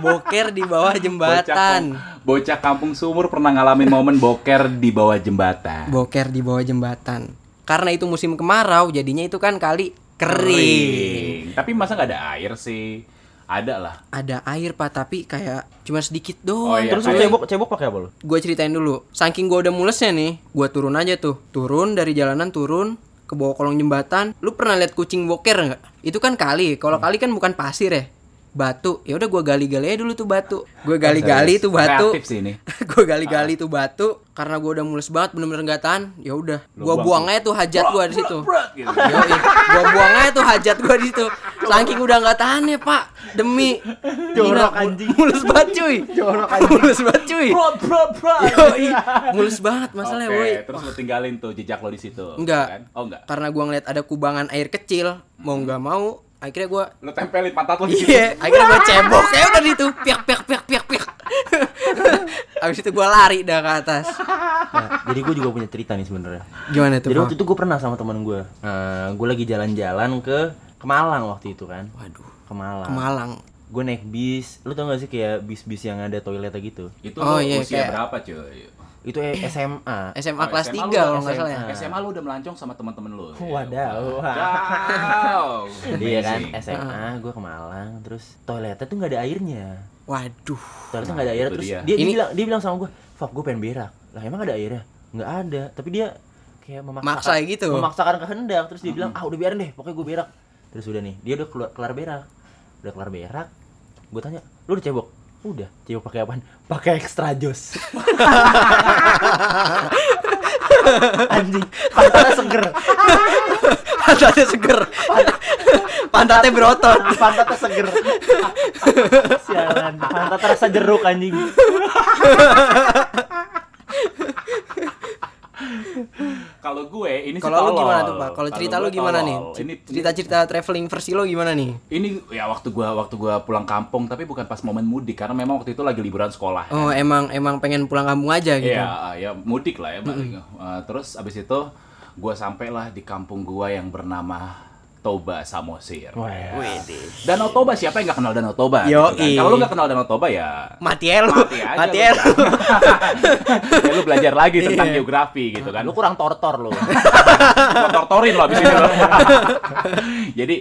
S2: boker di bawah
S3: bocah kam-
S2: jembatan
S3: bocah kampung sumur pernah ngalamin momen boker di bawah jembatan.
S2: boker di bawah jembatan karena itu musim kemarau jadinya itu kan kali kering
S3: Kering. Tapi masa nggak ada air sih? Ada lah.
S2: ada air pak tapi kayak cuma sedikit
S3: Oh,
S2: doang
S3: iya,
S1: terus lu
S3: kayak-
S1: cebok cebok pakai apa lu
S2: gue ceritain dulu saking gue udah mulesnya nih gue turun aja tuh turun dari jalanan turun ke bawah kolong jembatan lu pernah lihat kucing boker nggak itu kan kali kalau
S3: Hmm.
S2: kali kan bukan pasir ya batu ya udah gua gali-gali aja dulu tuh batu gue gali-gali tuh batu
S3: Nah, Kreatif sih ini.
S2: gue gali-gali tuh batu karena gua udah mules banget bener-bener nggak tahan ya udah gua buang aja tuh hajat gua di situ
S3: Brot, gitu.
S2: Yoi, gua buang aja tuh hajat gua di situ. Saking udah nggak tahan ya pak, demi
S1: Jorok,
S2: Gila,
S1: anjing.
S2: mulus banget cuy,
S1: Jorok, anjing.
S2: mulus banget cuy.
S3: Brot, brot, brot.
S2: Yoi, mulus banget masalahnya
S3: Oke,
S2: woi.
S3: terus lu tinggalin tuh jejak lo di situ.
S2: Enggak.
S3: kan? Oh, enggak.
S2: Karena gua ngeliat ada kubangan air kecil, mau nggak mau, akhirnya gua
S3: Lu tempelin pantat lo di situ.
S2: Iya, akhirnya gua cebok kayak udah di itu, piak piak piak piak piak. Abis itu gua lari dah ke atas.
S1: Nah, jadi gue juga punya cerita nih sebenarnya.
S2: Gimana tuh?
S1: Jadi
S2: Pak?
S1: waktu itu gue pernah sama teman gue. Eh, gue lagi jalan-jalan ke ke Malang waktu itu kan.
S2: Waduh,
S1: Ke Malang.
S2: ke Malang.
S1: Gue naik bis. Lu tau gak sih kayak bis-bis yang ada toiletnya gitu?
S3: Itu
S2: Oh,
S3: lu
S2: iya,
S3: usia
S2: kayak-
S3: berapa, cuy?
S1: Itu eh, SMA.
S2: SMA kelas
S3: Oh,
S2: 3
S3: SMA lu
S2: kalau
S3: udah
S2: nggak salah ya.
S1: SMA.
S3: SMA lu udah melancong sama teman-teman lu.
S1: Wadaw.
S3: Wow.
S1: Iya kan,
S3: Amazing.
S1: SMA, gue ke Malang, terus toiletnya tuh nggak ada airnya.
S2: Waduh.
S1: Ternyata nggak ada airnya
S3: itu
S1: terus
S3: dia.
S1: dia, dia
S2: Ini-
S1: bilang dia bilang sama gue Fak gue pengen berak lah emang ada airnya nggak ada tapi dia kayak
S2: Maksa
S1: memaksakan
S2: gitu.
S1: memaksakan kehendak terus dia bilang ah udah biarin deh pokoknya gue berak terus udah nih dia udah keluar kelar berak udah kelar berak gue tanya lu udah cebok udah cebok pakai apaan pakai extra jus anjing pantatnya seger
S2: Pantatnya seger. Pantatnya berotot.
S1: pantatnya seger sialan pantatnya rasa jeruk anjing
S3: Kalau gue ini sih
S2: Kalau lu
S3: tolol.
S2: gimana tuh, Pak? Kalau cerita
S3: gue
S2: lu gimana
S3: tolol.
S2: nih?
S3: Ini
S2: Cerita-cerita traveling versi lo gimana nih?
S3: ini ya waktu gua waktu gua pulang kampung tapi bukan pas momen mudik karena memang waktu itu lagi liburan sekolah.
S2: Oh, emang emang pengen pulang kampung aja gitu.
S3: Iya, ya mudik lah ya. balik. Eh, terus abis itu gua sampailah di kampung gua yang bernama Toba Samosir.
S1: Wah,
S3: Danau Toba siapa yang nggak kenal Danau Toba?
S2: Yoi.
S3: kan? Kalau lu nggak kenal Danau Toba ya
S2: Mati ya lu.
S3: mati aja.
S2: Mati
S3: lu. kan.
S2: ya lu. Iya.
S3: Ya, lu belajar lagi tentang geografi gitu kan.
S1: lu
S3: Lu
S1: kurang tortor lu
S3: tortorin lo abis ini lo. Jadi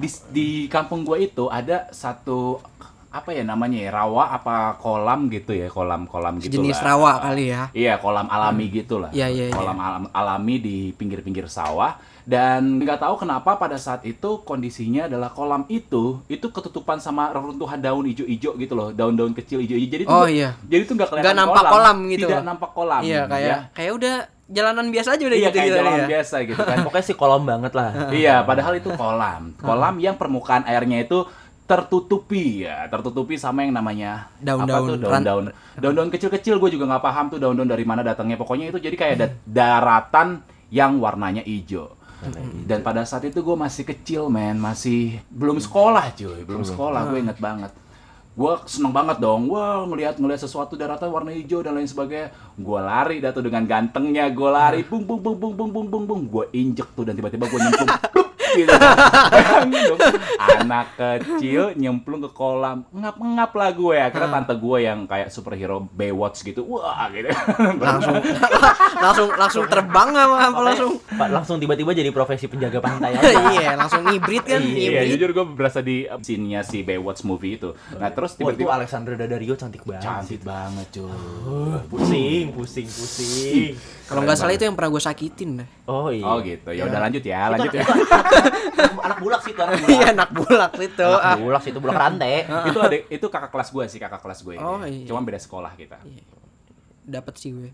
S3: di, di kampung gua itu ada satu apa ya namanya ya rawa apa kolam gitu ya kolam kolam gitu
S2: Jenis
S3: lah.
S2: rawa kali ya.
S3: Iya, kolam alami gitu lah.
S2: Iya, iya, iya.
S3: kolam alam- alami di pinggir-pinggir sawah dan nggak tahu kenapa pada saat itu kondisinya adalah kolam itu itu ketutupan sama reruntuhan daun ijo-ijo gitu loh, daun-daun kecil ijo-ijo. Jadi tuh
S2: Oh,
S3: nggak-
S2: iya.
S3: Jadi tuh nggak kelihatan
S2: Nggak nampak kolam gitu.
S3: Tidak nampak kolam.
S2: Iya, kayak
S3: ya.
S2: kayak udah jalanan biasa aja udah
S3: Iya,
S2: gitu
S3: kayak
S2: gitu
S3: jalan
S2: ya.
S3: biasa gitu kan.
S1: pokoknya sih kolom banget lah
S3: Iya, padahal itu kolam. Kolam yang permukaan airnya itu tertutupi ya, tertutupi sama yang namanya
S2: Daun-daun.
S3: apa tuh, daun-daun. Daun-daun kecil-kecil gue juga nggak paham tuh daun-daun dari mana datangnya. Pokoknya itu jadi kayak ada daratan yang warnanya hijau. Dan pada saat itu gue masih kecil, men, masih belum sekolah, cuy, belum sekolah. Gue inget banget. Gue seneng banget dong, wah ngelihat ngelihat sesuatu daratan warna hijau dan lain sebagainya. Gue lari dah tuh dengan gantengnya, gue lari, bung bung bung bung bung bung bung bung, gue injek tuh dan tiba-tiba gue nyemplung, Plup, gitu. Bayangin dong, gitu. anak kecil nyemplung ke kolam, ngap ngap lah gue. Akhirnya tante gue yang kayak superhero Baywatch gitu, wah gitu.
S2: Langsung langsung langsung terbang apa apa
S3: Iya.
S1: Makanya,
S2: langsung.
S1: Pak, langsung tiba-tiba jadi profesi penjaga pantai aja.
S2: Iya, langsung ngibrit kan,
S3: Iya,
S2: ngibrit.
S3: jujur gue berasa di scene-nya si Baywatch movie itu. Nah, terus
S1: Wah, Oh, itu
S3: tiba-tiba
S1: Alexandra Daddario cantik banget.
S3: cantik banget, cuy.
S1: Pusing, pusing, pusing.
S2: Kalau nggak salah itu yang pernah gue sakitin dah.
S1: Oh iya.
S3: Oh, gitu. Ya udah lanjut ya,
S1: Itu
S3: lanjut ya.
S1: anak, itu anak, anak bulak sih itu anak bulak.
S2: Iya, anak bulak itu.
S1: anak
S2: Ah,
S1: bulak sih itu bulak rantai.
S3: itu ada itu kakak kelas gue sih, kakak kelas gue.
S2: Oh, iya.
S3: Cuma beda sekolah kita.
S2: Dapat sih gue.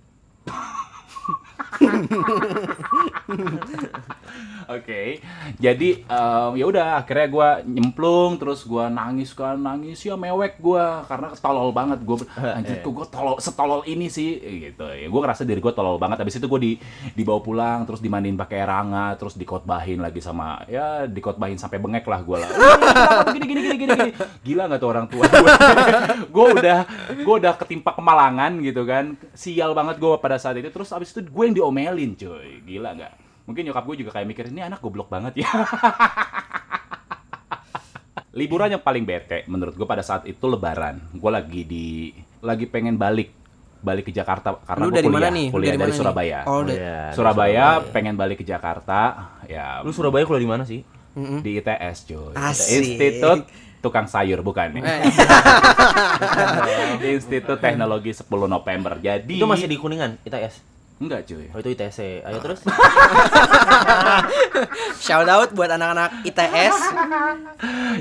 S3: Oke. Jadi em, ya udah akhirnya gua nyemplung terus gua nangis kan nangis ya mewek gua karena tolol banget gua ber- anjir kok gua tolol setolol ini sih gitu. Ya gua ngerasa diri gua tolol banget habis itu gua di dibawa pulang terus dimandiin pakai air hangat terus dikotbahin lagi sama ya dikotbahin sampai bengek lah gua lah. "Eh, kenapa tuh Gini gini gini gini gini. Gila nggak tuh orang tua gua. gua udah gua udah ketimpa kemalangan gitu kan. Sial banget gua pada saat itu terus habis itu gue yang diomelin cuy. Gila nggak? Mungkin nyokap gue juga kayak mikir, ini anak goblok banget ya. Liburan yang paling bete menurut gue pada saat itu lebaran. Gue lagi di lagi pengen balik balik ke Jakarta karena
S2: Lu
S3: gue
S2: dari
S3: kuliah,
S2: mana nih? Lu
S3: kuliah
S2: dari
S3: dari,
S2: mana nih?
S3: Surabaya.
S2: Oh, dari-
S1: Iya, di
S3: Surabaya pengen balik ke Jakarta ya
S1: Lu Surabaya kuliah di mana sih?
S3: di ITS cuy.
S2: Asik.
S3: Institut Tukang Sayur bukan ya? nih.
S2: Eh, ya.
S3: Institut Teknologi 10 November. Jadi
S1: Itu masih di Kuningan, ITS.
S3: Enggak cuy.
S1: Oh itu ITC. Ayo terus.
S2: Shout out buat anak-anak ITS.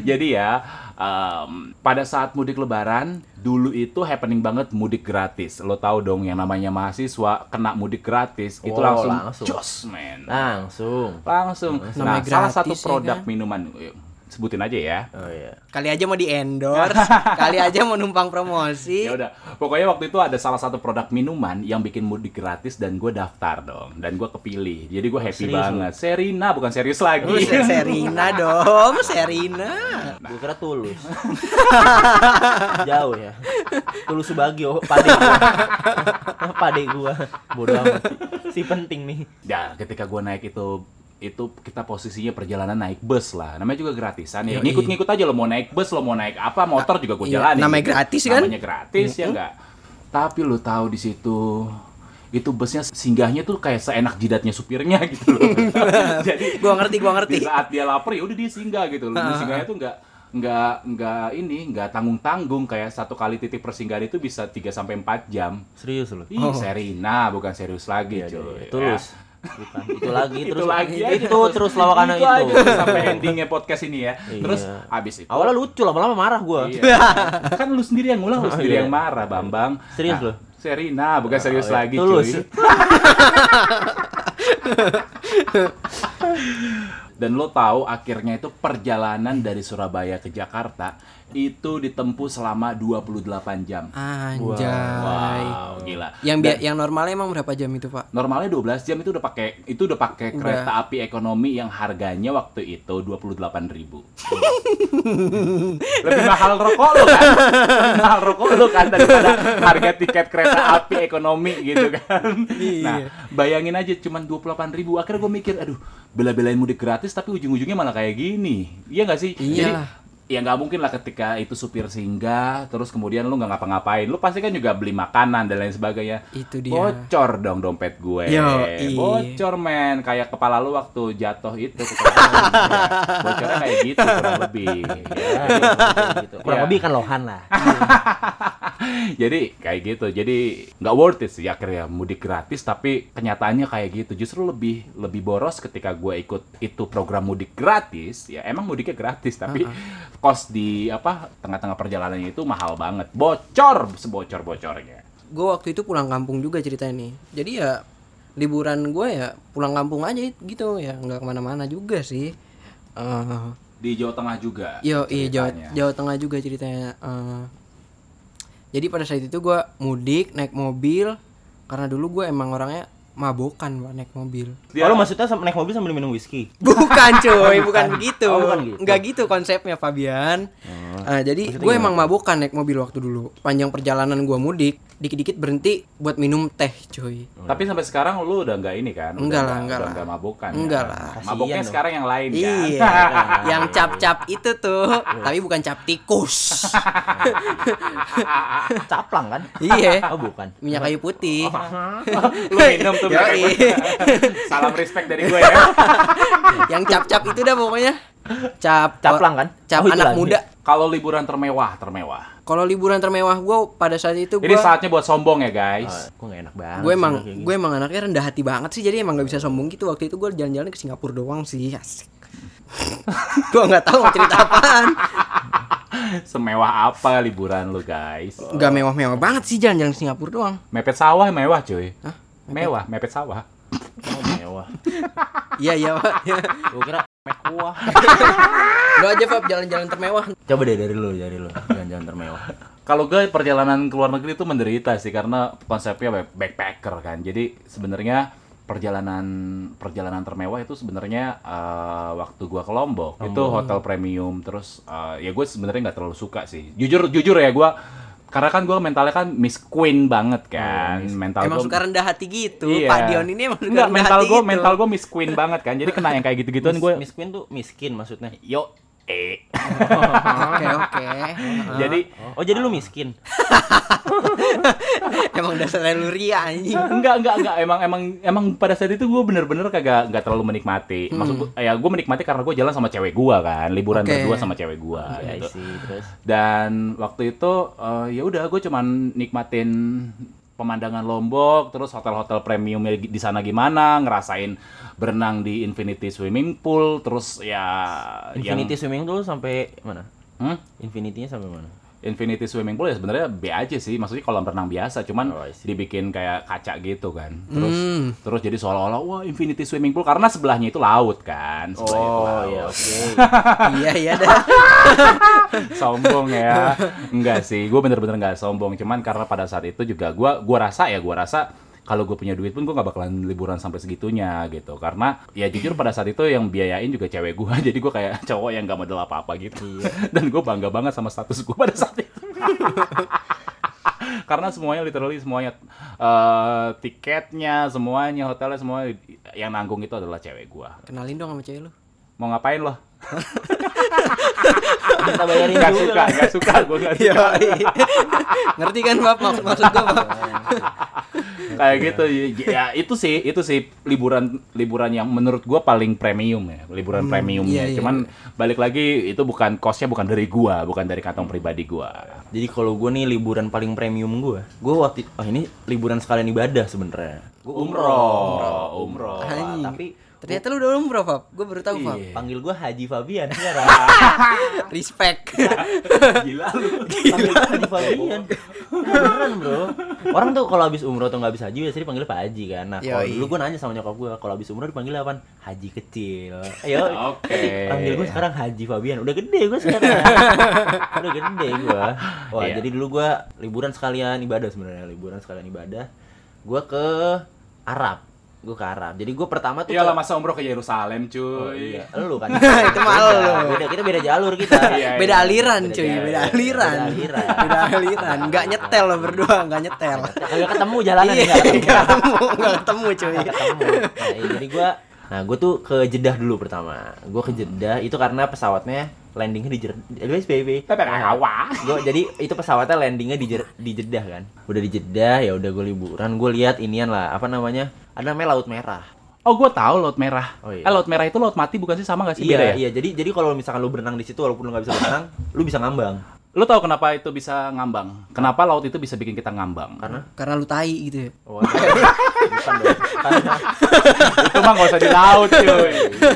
S3: Jadi ya, em, pada saat mudik lebaran, dulu itu happening banget mudik gratis. Lo tahu dong yang namanya mahasiswa kena mudik gratis, itu
S1: Oh,
S3: langsung,
S1: langsung.
S3: jos men.
S1: Langsung.
S3: Langsung. Nah,
S2: Namanya
S3: salah
S2: gratis
S3: satu
S2: ya
S3: produk
S2: kan?
S3: minuman eh, sebutin aja ya.
S1: Oh iya.
S2: Kali aja mau di endorse, kali aja mau numpang promosi.
S3: Ya udah, pokoknya waktu itu ada salah satu produk minuman yang bikin mudik gratis dan gue daftar dong, dan gue kepilih. Jadi gue happy
S1: Serius lu?
S3: banget. Serina bukan serius lagi.
S2: Lu se- Serina dong, Serina.
S1: Gue kira tulus. Jauh ya. Tulus Subagio, pade gua. pade gua. Bodoh amat. Si penting nih.
S3: Ya, ketika gue naik itu itu kita posisinya perjalanan naik bus lah. Namanya juga gratisan ya.
S2: Yoi.
S3: Ngikut-ngikut aja lo mau naik bus, lo mau naik apa, motor juga
S2: Iya,
S3: gue jalanin.
S2: namanya gratis kan?
S3: Namanya gratis ya enggak. Tapi lo tahu di situ itu busnya singgahnya tuh kayak seenak jidatnya supirnya gitu loh. Jadi
S2: Gua ngerti, gua ngerti.
S3: di saat dia lapar ya udah dia singgah gitu loh.
S2: Ah.
S3: Dia Singgahnya tuh enggak nggak nggak ini nggak tanggung tanggung kayak satu kali titik persinggahan itu bisa 3 sampai 4 jam.
S1: Serius lu.
S2: Oh.
S3: Ih, Serina bukan serius lagi,
S1: Iya, iya.
S3: cuy.
S1: Tulus. Bukan. Itu lagi
S3: Itu
S1: Gitu, terus
S3: lagi aja.
S1: itu terus lawakan
S3: Itu aja
S1: itu.
S3: terus sampai endingnya podcast ini ya. Terus
S1: Iya.
S3: abis itu.
S1: Awalnya lucu lama-lama marah gua.
S3: Iya. kan lu sendiri yang ngulang, lu sendiri
S1: Iya.
S3: yang marah, Bambang. Nah,
S1: Serius lu?
S3: Serina, bukan
S1: Oh,
S3: serius
S1: iya.
S3: lagi,
S1: Tulus.
S3: cuy. Dan lo tahu akhirnya itu perjalanan dari Surabaya ke Jakarta itu ditempuh selama 28 jam.
S2: Anjay.
S3: Wow, gila.
S2: Yang
S3: Dan-
S2: bi- yang normalnya emang berapa jam itu, Pak?
S3: Normalnya 12 jam itu udah pakai itu udah pakai
S2: Udah.
S3: kereta api ekonomi yang harganya waktu itu 28.000. Lebih mahal rokok lo kan. Lebih mahal rokok lo kan daripada harga tiket kereta api ekonomi gitu kan.
S2: Iya.
S3: Nah, bayangin aja cuman 28.000. Akhirnya gue mikir, aduh, bela-belain mudik gratis tapi ujung-ujungnya malah kayak gini. Iya gak sih?
S2: Iyalah.
S3: Jadi Ya nggak mungkin lah ketika itu supir singgah, terus kemudian lu nggak ngapa-ngapain, lu pasti kan juga beli makanan dan lain sebagainya.
S2: Itu dia.
S3: Bocor dong dompet gue.
S2: Yoi.
S3: Bocor men, kayak kepala lu waktu jatuh itu. kekocoran. Ya, Bocornya kayak gitu kurang lebih. Ya,
S1: Gitu. Kurang
S3: Iya.
S1: lebih kan lohan lah.
S3: Jadi kayak gitu. Jadi nggak worth it sih akhirnya mudik gratis tapi kenyataannya kayak gitu. Justru lebih lebih boros ketika gue ikut itu program mudik gratis. Ya emang mudiknya gratis tapi kos di apa tengah-tengah perjalanannya itu mahal banget. Bocor sebocor-bocornya.
S2: gue waktu itu pulang kampung juga ceritanya nih jadi ya liburan gue ya pulang kampung aja gitu ya nggak kemana-mana juga sih Eh,
S3: Di Jawa Tengah juga.
S2: yo iya Jawa,
S3: ceritanya.
S2: Jawa Tengah juga ceritanya Eh, jadi pada saat itu gue mudik naik mobil karena dulu gue emang orangnya mabokan pak naik mobil
S1: Kalau maksudnya sam- naik mobil sambil minum whisky.
S2: bukan cuy bukan begitu
S1: Oh, bukan gitu. Oh.
S2: nggak gitu konsepnya Fabian Eh, jadi gue emang mabukan naik mobil waktu dulu panjang perjalanan gue mudik dikit-dikit berhenti buat minum teh cuy
S3: Tapi sampai sekarang lu udah nggak ini kan? Udah
S2: Iya. Enggak lah,
S3: nggak-
S2: enggak
S3: udah
S2: lah.
S3: nggak mabukan.
S2: Enggak
S3: kan?
S2: lah.
S3: Mabuknya
S1: Kasian dong.
S3: sekarang yang lain kan.
S2: Iya, yang cap-cap itu tuh, tapi bukan cap tikus.
S1: Caplang kan?
S2: iya,
S1: Oh bukan.
S2: minyak kayu putih.
S3: lu minum tuh
S2: Yoi.
S3: Bang. Salam respect dari gue ya.
S2: yang cap-cap itu dah pokoknya. Cap
S1: Caplang kan?
S2: Cap
S1: Oh, itu
S2: anak
S1: lagi.
S2: muda.
S3: Kalau liburan termewah, termewah.
S2: Kalau liburan termewah gue pada saat itu
S3: Ini
S2: gue
S3: saatnya buat sombong ya, guys.
S1: Gue gak Oh, enak banget.
S2: gue
S1: sih
S2: emang
S1: kalau kayak
S2: gue emang anaknya rendah hati banget sih jadi emang nggak bisa sombong gitu waktu itu gue jalan-jalan ke Singapura doang sih asik gue nggak tahu mau cerita apaan Iya.
S3: Semewah apa liburan lu, guys?
S2: nggak mewah-mewah banget sih jalan-jalan ke Singapura doang
S3: Mepet sawah mewah, cuy.
S2: Hah?
S3: Mewah, mepet sawah.
S1: gitu. Oh, mewah.
S2: iya iya Pak.
S1: Gue kira mewah.
S2: lo aja Fab jalan-jalan termewah
S1: Coba deh dari lu, dari lu. Jangan-jangan termewah.
S3: Kalau gue perjalanan ke luar negeri itu menderita sih karena konsepnya back- backpacker kan. Jadi sebenarnya perjalanan perjalanan termewah itu sebenarnya eh, waktu gua ke Lombok itu hotel premium terus eh, ya gue sebenarnya nggak terlalu suka sih. Jujur jujur ya gua karena kan gua mentalnya kan Miss Queen
S1: Oh,
S3: banget kan. mental
S2: emang
S3: gua-
S2: suka rendah hati gitu
S3: Iya.
S2: Pak Dion ini emang suka
S3: Enggak,
S2: rendah
S3: mental
S2: hati
S3: gue
S2: gitu.
S3: mental gue Miss Queen banget kan. Jadi kena yang kayak gitu-gituan gue
S1: Miss Queen tuh miskin maksudnya.
S3: yo eh.
S2: Oke oke.
S3: Jadi
S1: Oh, jadi lu miskin.
S2: Emang dasarnya lu ria anjing.
S3: Iya, enggak enggak enggak emang emang emang pada saat itu gue bener-bener kagak nggak terlalu menikmati maksud gua- ya gue menikmati karena gue jalan sama cewek gue kan liburan
S2: Oke.
S3: berdua sama cewek gue
S1: Ya
S3: gitu
S1: sih, terus.
S3: dan waktu itu eh, ya udah gue cuman nikmatin pemandangan Lombok, terus hotel-hotel premiumnya di di sana gimana, ngerasain berenang di infinity swimming pool, terus ya yang-
S1: Infinity swimming dulu sampai mana?
S3: Hmm?
S1: Infinity-nya sampai mana?
S3: Infinity swimming pool ya sebenarnya B aja sih, maksudnya kolam renang biasa, cuman
S1: Oh, I see.
S3: dibikin kayak kaca gitu kan. Terus terus jadi seolah-olah wah infinity swimming pool karena sebelahnya itu laut kan.
S1: Oh,
S3: Sebelahnya itu laut.
S1: oke.
S2: iya iya dah
S3: sombong ya enggak sih gue bener-bener nggak sombong cuman karena pada saat itu juga gua gua rasa ya gua rasa kalau gue punya duit pun gue nggak bakalan liburan sampai segitunya gitu karena ya jujur pada saat itu yang biayain juga cewek gue jadi gue kayak cowok yang nggak modal apa-apa gitu dan gue bangga banget sama status gue pada saat itu karena semuanya literally semuanya eh, tiketnya semuanya hotelnya semua yang nanggung itu adalah cewek gue
S2: kenalin dong sama cewek lu
S3: mau ngapain loh
S1: Kita bayarin
S3: nggak
S1: juga
S3: suka
S1: lah.
S3: nggak suka gue nggak suka
S2: Yoi. Iya. ngerti kan Bab? maksud maksud gua Bab?
S3: kayak
S1: Iya.
S3: gitu ya itu sih itu sih liburan liburan yang menurut gua paling premium ya liburan
S1: Hmm,
S3: premiumnya
S2: iya, iya.
S3: cuman balik lagi itu bukan costnya bukan dari gua bukan dari kantong pribadi gua
S1: Jadi kalau gue nih liburan paling premium gue, gue waktu oh ini liburan sekalian ibadah sebenarnya. Gue
S3: umroh umroh
S1: Oh,
S2: Anjing.
S1: tapi-
S2: ternyata lu udah umroh Fab gue baru tahu Fab
S3: Iya.
S1: Panggil gue Haji Fabian ya, Ra.
S2: respect
S3: gila lu
S2: Iya.
S1: Panggil gua Haji Fabian. Iya, Beneran bro. Orang tuh kalau habis umroh atau nggak habis haji biasanya dipanggil Pak Haji kan. Nah kalau
S2: Yoi.
S1: dulu gue nanya sama nyokap gue kalau habis umroh dipanggil apa? Haji kecil. Ayo.
S3: Oke.
S1: Panggil gue sekarang Haji Fabian. Udah gede gue sekarang. Udah gede gue. Wah
S3: Iya.
S1: jadi dulu gue liburan sekalian ibadah sebenarnya liburan sekalian ibadah. Gue ke Arab. Gue ke Arab. Jadi gue pertama tuh.
S3: ya
S1: ke-
S3: lah masa umroh ke Yerusalem cuy
S1: Oh, iya, lu kan.
S2: Itu mah lu.
S1: Beda, kita beda jalur kita.
S3: Iya,
S2: beda
S3: iya.
S2: aliran cuy
S1: Beda-
S2: beda
S1: beda
S2: aliran
S1: aliran.
S2: beda aliran nggak nyetel lo berdua nggak nyetel
S1: Kagak ketemu jalanan
S2: iya
S1: nggak ketemu.
S2: nggak ketemu nggak ketemu cuy
S1: Nggak ketemu. Nah, iya, jadi gua Nah, gue tuh ke Jeddah dulu pertama. Gue ke Jeddah itu karena pesawatnya landingnya di eh, Jeddah. baby.
S3: tapi awal
S1: Gua jadi itu pesawatnya landingnya di Jer- di Jeddah kan. Udah di Jeddah ya udah gue liburan. Gue lihat inian lah apa namanya? Ada namanya Laut Merah.
S3: oh gua tahu laut merah
S1: Oh, iya.
S3: eh laut merah itu laut mati bukan sih sama nggak sih beda
S1: Iya,
S3: ya
S1: iya. Jadi jadi kalau misalkan lu berenang di situ walaupun lu nggak bisa berenang, lu bisa ngambang.
S3: lu tahu kenapa itu bisa ngambang kenapa laut itu bisa bikin kita ngambang
S1: Karena
S2: karena lu tai gitu ya
S1: Oh, iya. bukan dong. Karena
S3: itu mah nggak usah di laut cuy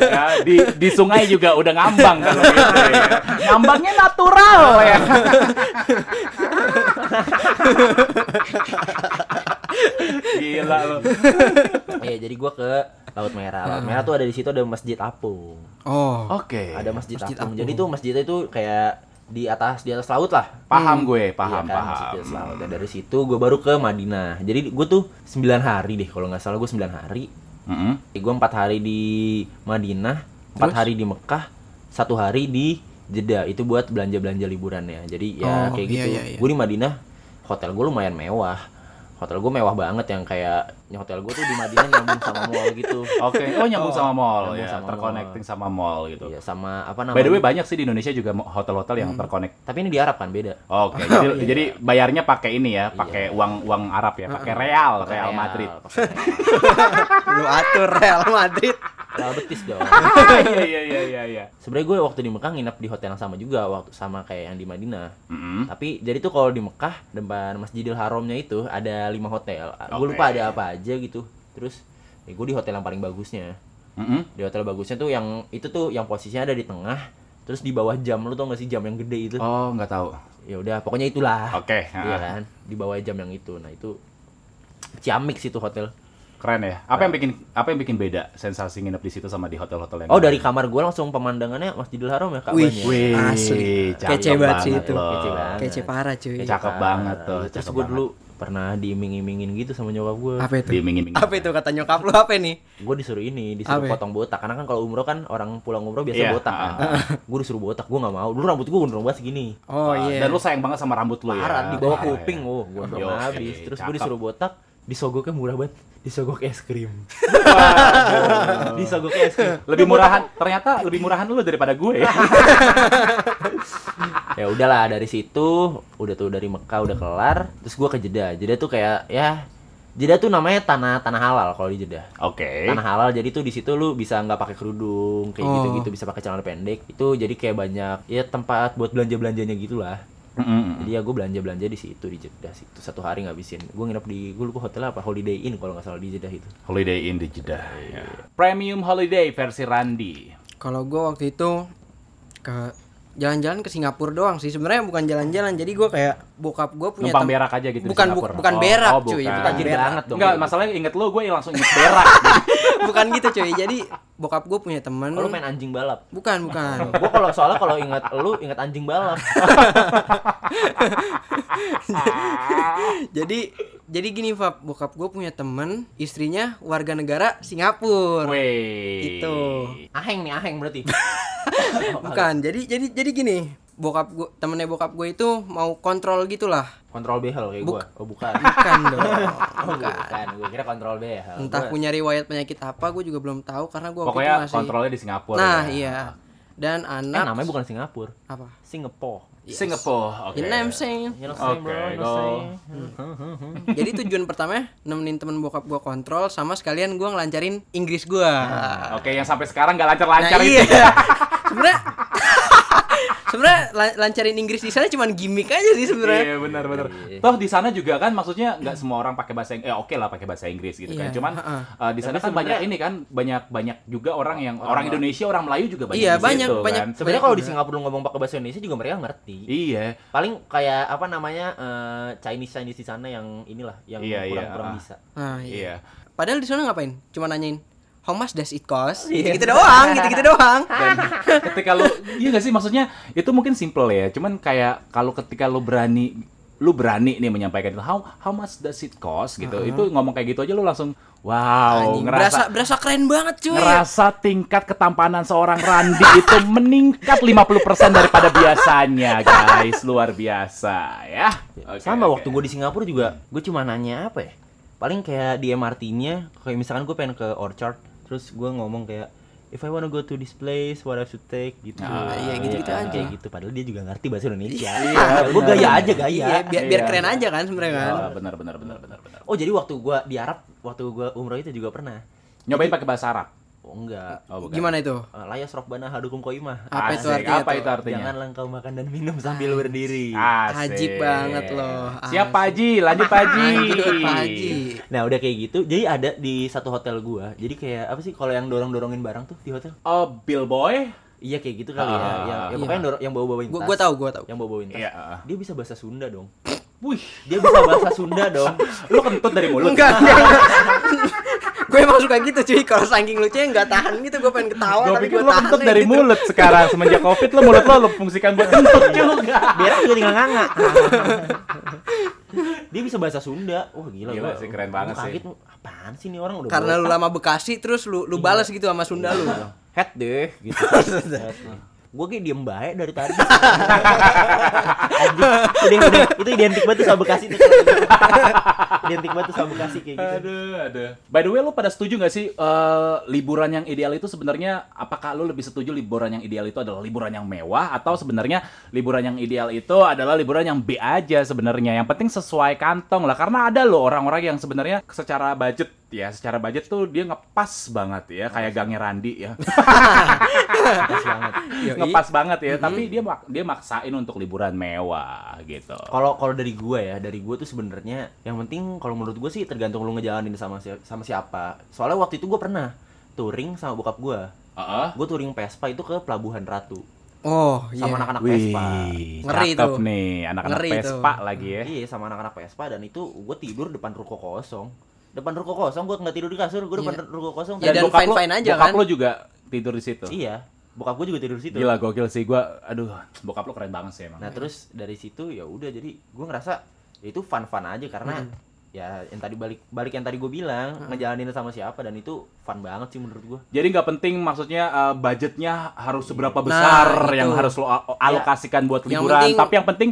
S3: ya, di di sungai juga udah ngambang kalau gitu ya. ngambangnya natural ya gila lo
S1: Iya, jadi gua ke Laut Merah. Laut Merah tuh ada di situ ada Masjid Apung.
S2: oh
S3: oke
S1: Ada Masjid,
S2: Masjid
S1: Apung.
S2: Apung.
S1: Jadi tuh masjidnya itu kayak di atas di atas laut lah.
S3: paham gue paham
S1: Iya kan, masjid
S3: paham
S1: di atas laut. Dan dari situ gua baru ke Madinah. Jadi gua tuh 9 hari deh kalau nggak salah gua 9 hari.
S3: Mm-mm.
S1: Eh, Gua 4 hari di Madinah, 4
S2: Terus?
S1: hari di Mekah, satu hari di Jeddah. Itu buat belanja-belanja liburannya. Jadi ya
S2: Oh,
S1: kayak
S2: iya,
S1: gitu.
S2: iya, iya.
S1: Gua di Madinah hotel gua lumayan mewah. Hotel gua mewah banget yang kayak hotel gua tuh di Madinah nyambung sama mall gitu.
S3: oke oh nyambung sama mall
S1: Nyambung
S3: ya
S1: sama
S3: terconnecting sama mall gitu
S1: Iya, sama apa namanya?
S3: by the way banyak sih di Indonesia juga mo- hotel-hotel yang terconnect
S1: Tapi ini di Arab kan beda.
S3: Oke, jadi, jadi bayarnya pakai ini ya, pakai uang uang Arab ya, pakai real,
S1: Pakai
S3: real Madrid.
S1: pakai Real.
S2: lu atur Real Madrid
S1: Real Betis dong.
S3: Iya iya iya iya. iya.
S1: Sebenarnya gue waktu di Mekah nginep di hotel yang sama juga waktu sama kayak yang di Madinah.
S3: Mm-mm.
S1: Tapi jadi tuh kalau di Mekah depan Masjidil Haramnya itu ada lima hotel. Gue
S3: Oke.
S1: lupa ada apa aja gitu. Terus ya gue di hotel yang paling bagusnya.
S3: Mm-mm.
S1: Di hotel bagusnya tuh yang itu tuh yang posisinya ada di tengah. Terus di bawah jam lu tau gak sih jam yang gede itu?
S3: Oh, nggak tahu.
S1: Ya udah pokoknya itulah.
S3: Oke,
S1: Iya
S3: ah.
S1: kan? Di bawah jam yang itu. Nah, itu Ciamik situ hotel.
S3: Keren ya. Apa yang bikin apa yang bikin beda sensasi nginep di situ sama di hotel-hotel yang
S1: Oh dari kamar gue langsung pemandangannya Masjidil Haram ya
S2: Wih.
S1: Ka'bahnya.
S3: Wih,
S2: Asli.
S3: cakep
S2: Kece banget sih itu.
S3: loh.
S1: Kece banget.
S2: kece parah cuy
S3: Kece. Cakep banget tuh,
S1: Iya, Terus
S3: cakep
S1: gue dulu pernah diiming-imingin gitu sama nyokap gue.
S2: apa itu
S3: Diiming-iming.
S2: apa itu kata nyokap lu apa nih
S1: Gue disuruh ini, disuruh
S2: Apa?
S1: potong botak. Karena kan kalau umroh kan orang pulang umroh biasa
S3: Iya,
S1: botak kan. gue disuruh botak, gue nggak mau. Dulu rambut gue gondrong banget segini.
S2: oh
S3: Ah,
S2: iya
S3: Dan lu sayang banget sama rambut lu ya.
S1: Parah, di bawah
S3: Parah ya.
S1: kuping, oh gue
S3: Yo,
S1: gondrong habis.
S3: eh,
S1: Terus
S3: cakep.
S1: gue disuruh botak, disogoknya murah banget. Disogok es krim. disogok es krim.
S3: Lebih murahan, ternyata lebih murahan lu daripada gue.
S1: ya udahlah dari situ udah tuh dari Mekah udah kelar terus gua ke Jeddah Jeddah tuh kayak ya Jeddah tuh namanya tanah tanah halal kalau di Jeddah
S3: Oke.
S1: tanah halal jadi tuh di situ lu bisa nggak pakai kerudung kayak
S2: Eh? Oh.
S1: gitu gitu bisa pakai celana pendek itu jadi kayak banyak ya tempat buat belanja belanjanya gitulah
S3: Mm-mm.
S1: Jadi ya gue belanja-belanja di situ di Jeddah situ satu hari ngabisin. Gue nginep di gue lupa hotel apa Holiday Inn kalau nggak salah di Jeddah itu.
S3: Holiday Inn di Jeddah. ya. Premium Holiday versi Randi.
S2: Kalau gue waktu itu ke jalan-jalan ke Singapura doang sih. Sebenarnya bukan jalan-jalan. Jadi gue kayak bokap gue punya
S3: Numpang
S2: tem-
S3: berak aja gitu di
S2: Bukan bu-
S3: Singapura.
S2: bukan
S3: Oh,
S2: berak
S3: oh,
S2: cuy,
S3: bukan.
S2: bukan
S1: Tajir
S2: berak.
S1: banget dong.
S3: Enggak, masalahnya inget lo, gue langsung inget berak.
S2: bukan gitu cuy. Jadi bokap gue punya temen.
S3: Oh,
S1: Kalau main anjing balap.
S2: Bukan bukan.
S1: gue kalau soalnya kalau ingat lu ingat anjing balap.
S2: jadi jadi gini Fab, bokap gue punya temen, istrinya warga negara Singapura.
S3: Wih.
S2: Itu.
S1: Aheng nih aheng berarti.
S2: Bukan. Jadi jadi jadi gini, bokap gue temennya bokap gue itu mau kontrol gitulah.
S1: Kontrol behel kayak gue.
S2: Buk-
S1: Oh bukan.
S2: Bukan dong.
S1: Oh, bukan. Gue kira kontrol behel.
S2: Entah
S1: Gua- Eh,
S2: punya riwayat penyakit apa, gue juga belum tahu karena gue waktu itu
S3: Pokoknya
S2: gitu masih.
S3: kontrolnya di Singapura.
S2: Nah
S3: ya.
S2: iya. Dan
S1: Eh,
S2: anak
S1: namanya bukan Singapura.
S2: apa?
S1: Singapore.
S3: Singapura. Oke. Iya.
S2: You know what I'm saying?
S1: You know,
S3: Oke,
S1: same, bro,
S3: go.
S1: no same.
S2: Hmm. Jadi tujuan pertama nemenin temen bokap gua kontrol sama sekalian gua ngelancarin Inggris gua.
S3: Ah. Oke, yang sampai sekarang gak lancar-lancar
S2: nah,
S3: itu.
S2: iya. Sebenarnya sebenarnya la- lancarin Inggris di sana cuman gimmick aja sih sebenarnya.
S3: Iya benar benar.
S1: Iya.
S3: Toh di sana juga kan maksudnya nggak semua orang pakai bahasa Inggris. Eh oke lah pakai bahasa Inggris gitu kan.
S2: Iya,
S3: Cuman
S2: heeh.
S3: eh, di sana
S1: Tapi
S3: kan banyak
S1: sebenarnya-
S3: ini kan banyak banyak juga orang yang orang Indonesia, orang Melayu juga banyak
S2: Iya,
S3: di situ
S2: banyak,
S3: kan.
S2: banyak.
S1: Sebenarnya kalau di Singapura lu ngomong pakai bahasa Indonesia juga mereka ngerti.
S3: Iya.
S1: Paling kayak apa namanya eh, Chinese Chinese di sana yang inilah yang kurang
S3: Iya, iya,
S1: kurang
S3: ah.
S1: bisa.
S2: Nah, iya.
S3: Iya.
S2: Padahal di sana ngapain? Cuma nanyain How much does it cost?
S1: Iya.
S2: Gitu-gitu doang, gitu-gitu doang.
S3: Dan ketika lu iya gak sih maksudnya itu mungkin simple ya. Cuman kayak kalau ketika lu berani lu berani nih menyampaikan itu how how much does it cost gitu. Itu ngomong kayak gitu aja lu langsung wow,
S2: Anjing, berasa
S3: ngerasa
S2: berasa keren banget cuy.
S3: ngerasa tingkat ketampanan seorang Randi itu meningkat 50% daripada biasanya, guys. Luar biasa ya. Oke,
S1: Sama
S3: oke.
S1: waktu gue di Singapura juga, gue cuma nanya apa ya? Paling kayak di MRT-nya, kayak misalkan gue pengen ke Orchard, terus gue ngomong kayak If I wanna go to this place, what I should take gitu.
S3: Ah,
S2: iya, gitu-gitu
S1: Kayak
S2: aja.
S1: gitu. Padahal dia juga ngerti bahasa Indonesia. gue gaya aja gaya.
S2: Iya, biar, biar
S3: Iya.
S2: keren aja kan sebenarnya kan.
S3: Oh, benar benar benar benar benar.
S1: Oh jadi waktu gue di Arab, waktu gue umroh itu juga pernah.
S3: Nyobain pakai bahasa Arab.
S1: Oh enggak.
S3: Oh, bukan.
S2: Gimana itu?
S1: Eh, Layas rokbana hadukum koimah.
S2: Apa itu
S3: Asik,
S2: artinya
S3: Apa
S2: tuh?
S3: itu artinya? Ah.
S1: Janganlah engkau makan dan minum sambil berdiri.
S3: Asik.
S2: Ajib banget loh.
S3: Siap
S2: Asik.
S3: Pak Haji, lanjut Pak Haji.
S2: Lanjut, Pak Haji.
S1: Nah udah kayak gitu, jadi ada di satu hotel gua. Jadi kayak apa sih kalau yang dorong-dorongin barang tuh di hotel?
S3: Oh, Bill Boy.
S1: Iya kayak gitu kali ya.
S3: Ah,
S1: Yang, yang
S2: iya.
S1: pokoknya dorong, yang bawa-bawain
S2: Gua
S1: tas.
S2: gua tahu, gua tahu.
S1: Yang bawa-bawain tas.
S3: Iya, ah.
S1: Dia bisa bahasa Sunda dong.
S3: Wih,
S1: Dia bisa bahasa Sunda dong.
S3: lu kentut dari mulut.
S2: Enggak, enggak. gue emang suka gitu cuy kalau saking lucunya nggak tahan gitu gue pengen ketawa
S3: Gue
S2: tapi
S3: pikir
S2: gue
S3: lu
S2: tahan
S3: kentut
S2: aja
S3: dari
S2: gitu.
S3: mulut sekarang semenjak Covid lu mulut lu lu fungsikan buat kentut
S2: Iya.
S3: juga.
S1: Berak juga tinggal nganga. Dia bisa bahasa Sunda. Wah gila.
S3: Gila sih, keren banget
S1: gua
S3: sih.
S1: kaget, apaan sih nih orang udah
S2: karena lu
S1: botak.
S2: lama Bekasi terus lu
S3: Iya.
S2: lu balas gitu sama Sunda lu
S1: head deh gitu. gue kayak diem baik dari tadi. Anjing. udah, udah, itu identik banget tuh sama Bekasi tuh. identik banget tuh sama Bekasi kayak gitu.
S3: Aduh, aduh. By the way, lo pada setuju nggak sih eh, liburan yang ideal itu sebenarnya apakah lo lebih setuju liburan yang ideal itu adalah liburan yang mewah atau sebenarnya liburan yang ideal itu adalah liburan yang B aja sebenarnya. Yang penting sesuai kantong lah karena ada lo orang-orang yang sebenarnya secara budget ya, secara budget tuh dia ngepas banget ya
S2: Iya.
S3: kayak gangnya Randi ya.
S1: Pas banget.
S2: Yoi.
S3: ngepas banget ya, tapi dia mak- dia maksain untuk liburan mewah gitu.
S1: Kalau kalau dari gue ya, dari gue tuh sebenarnya yang penting kalau menurut gue sih tergantung lu ngejalanin sama si- sama siapa. Soalnya waktu itu gue pernah touring sama bokap gue.
S3: Heeh.
S1: Gue touring Vespa itu ke Pelabuhan Ratu
S2: oh iya
S1: sama anak-anak
S3: Wih,
S1: Vespa.
S2: Ngeri
S3: cakep
S2: tuh.
S3: nih anak-anak
S2: Ngeri tuh.
S3: Vespa lagi ya.
S1: Iya sama anak-anak Vespa dan itu gue tidur depan ruko kosong. Depan ruko kosong gue nggak tidur di kasur, gue depan
S2: Iya.
S1: ruko kosong.
S2: Ya, dan
S1: tidur.
S3: bokap lo-
S2: fine-fine aja,
S3: bokap
S2: kan?
S3: lo juga tidur di situ.
S1: Iya, bokap gue juga tidur di situ.
S3: gitu. Gila gokil sih gua. Aduh, bokap lo keren banget sih emang.
S1: Nah terus dari situ ya udah jadi gue ngerasa ya itu fun fun aja karena
S3: Hmm.
S1: ya yang tadi balik balik yang tadi gue bilang ngejalanin sama siapa dan itu fun banget sih menurut gue.
S3: Jadi nggak penting maksudnya eh, budgetnya harus seberapa besar
S2: itu.
S3: yang harus lo a- alokasikan buat
S2: Yang
S3: liburan,
S2: penting-
S3: tapi yang penting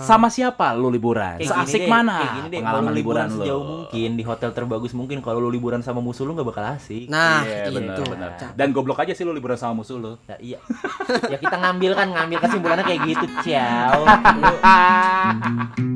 S3: sama siapa lo liburan,
S1: Kayak gini
S3: seasik
S1: deh,
S3: mana
S1: kayak gini deh,
S3: pengalaman
S1: kalau
S3: liburan, lo.
S1: sejauh mungkin di hotel terbagus mungkin kalau lu liburan sama musuh lu nggak bakal asik.
S2: nah
S3: Iya,
S2: itu
S3: benar, benar.
S2: Cak.
S3: Dan goblok aja sih lo liburan sama musuh lo.
S1: Ya, iya. ya kita ngambil kan ngambil kesimpulannya kayak gitu, ciao. Lu-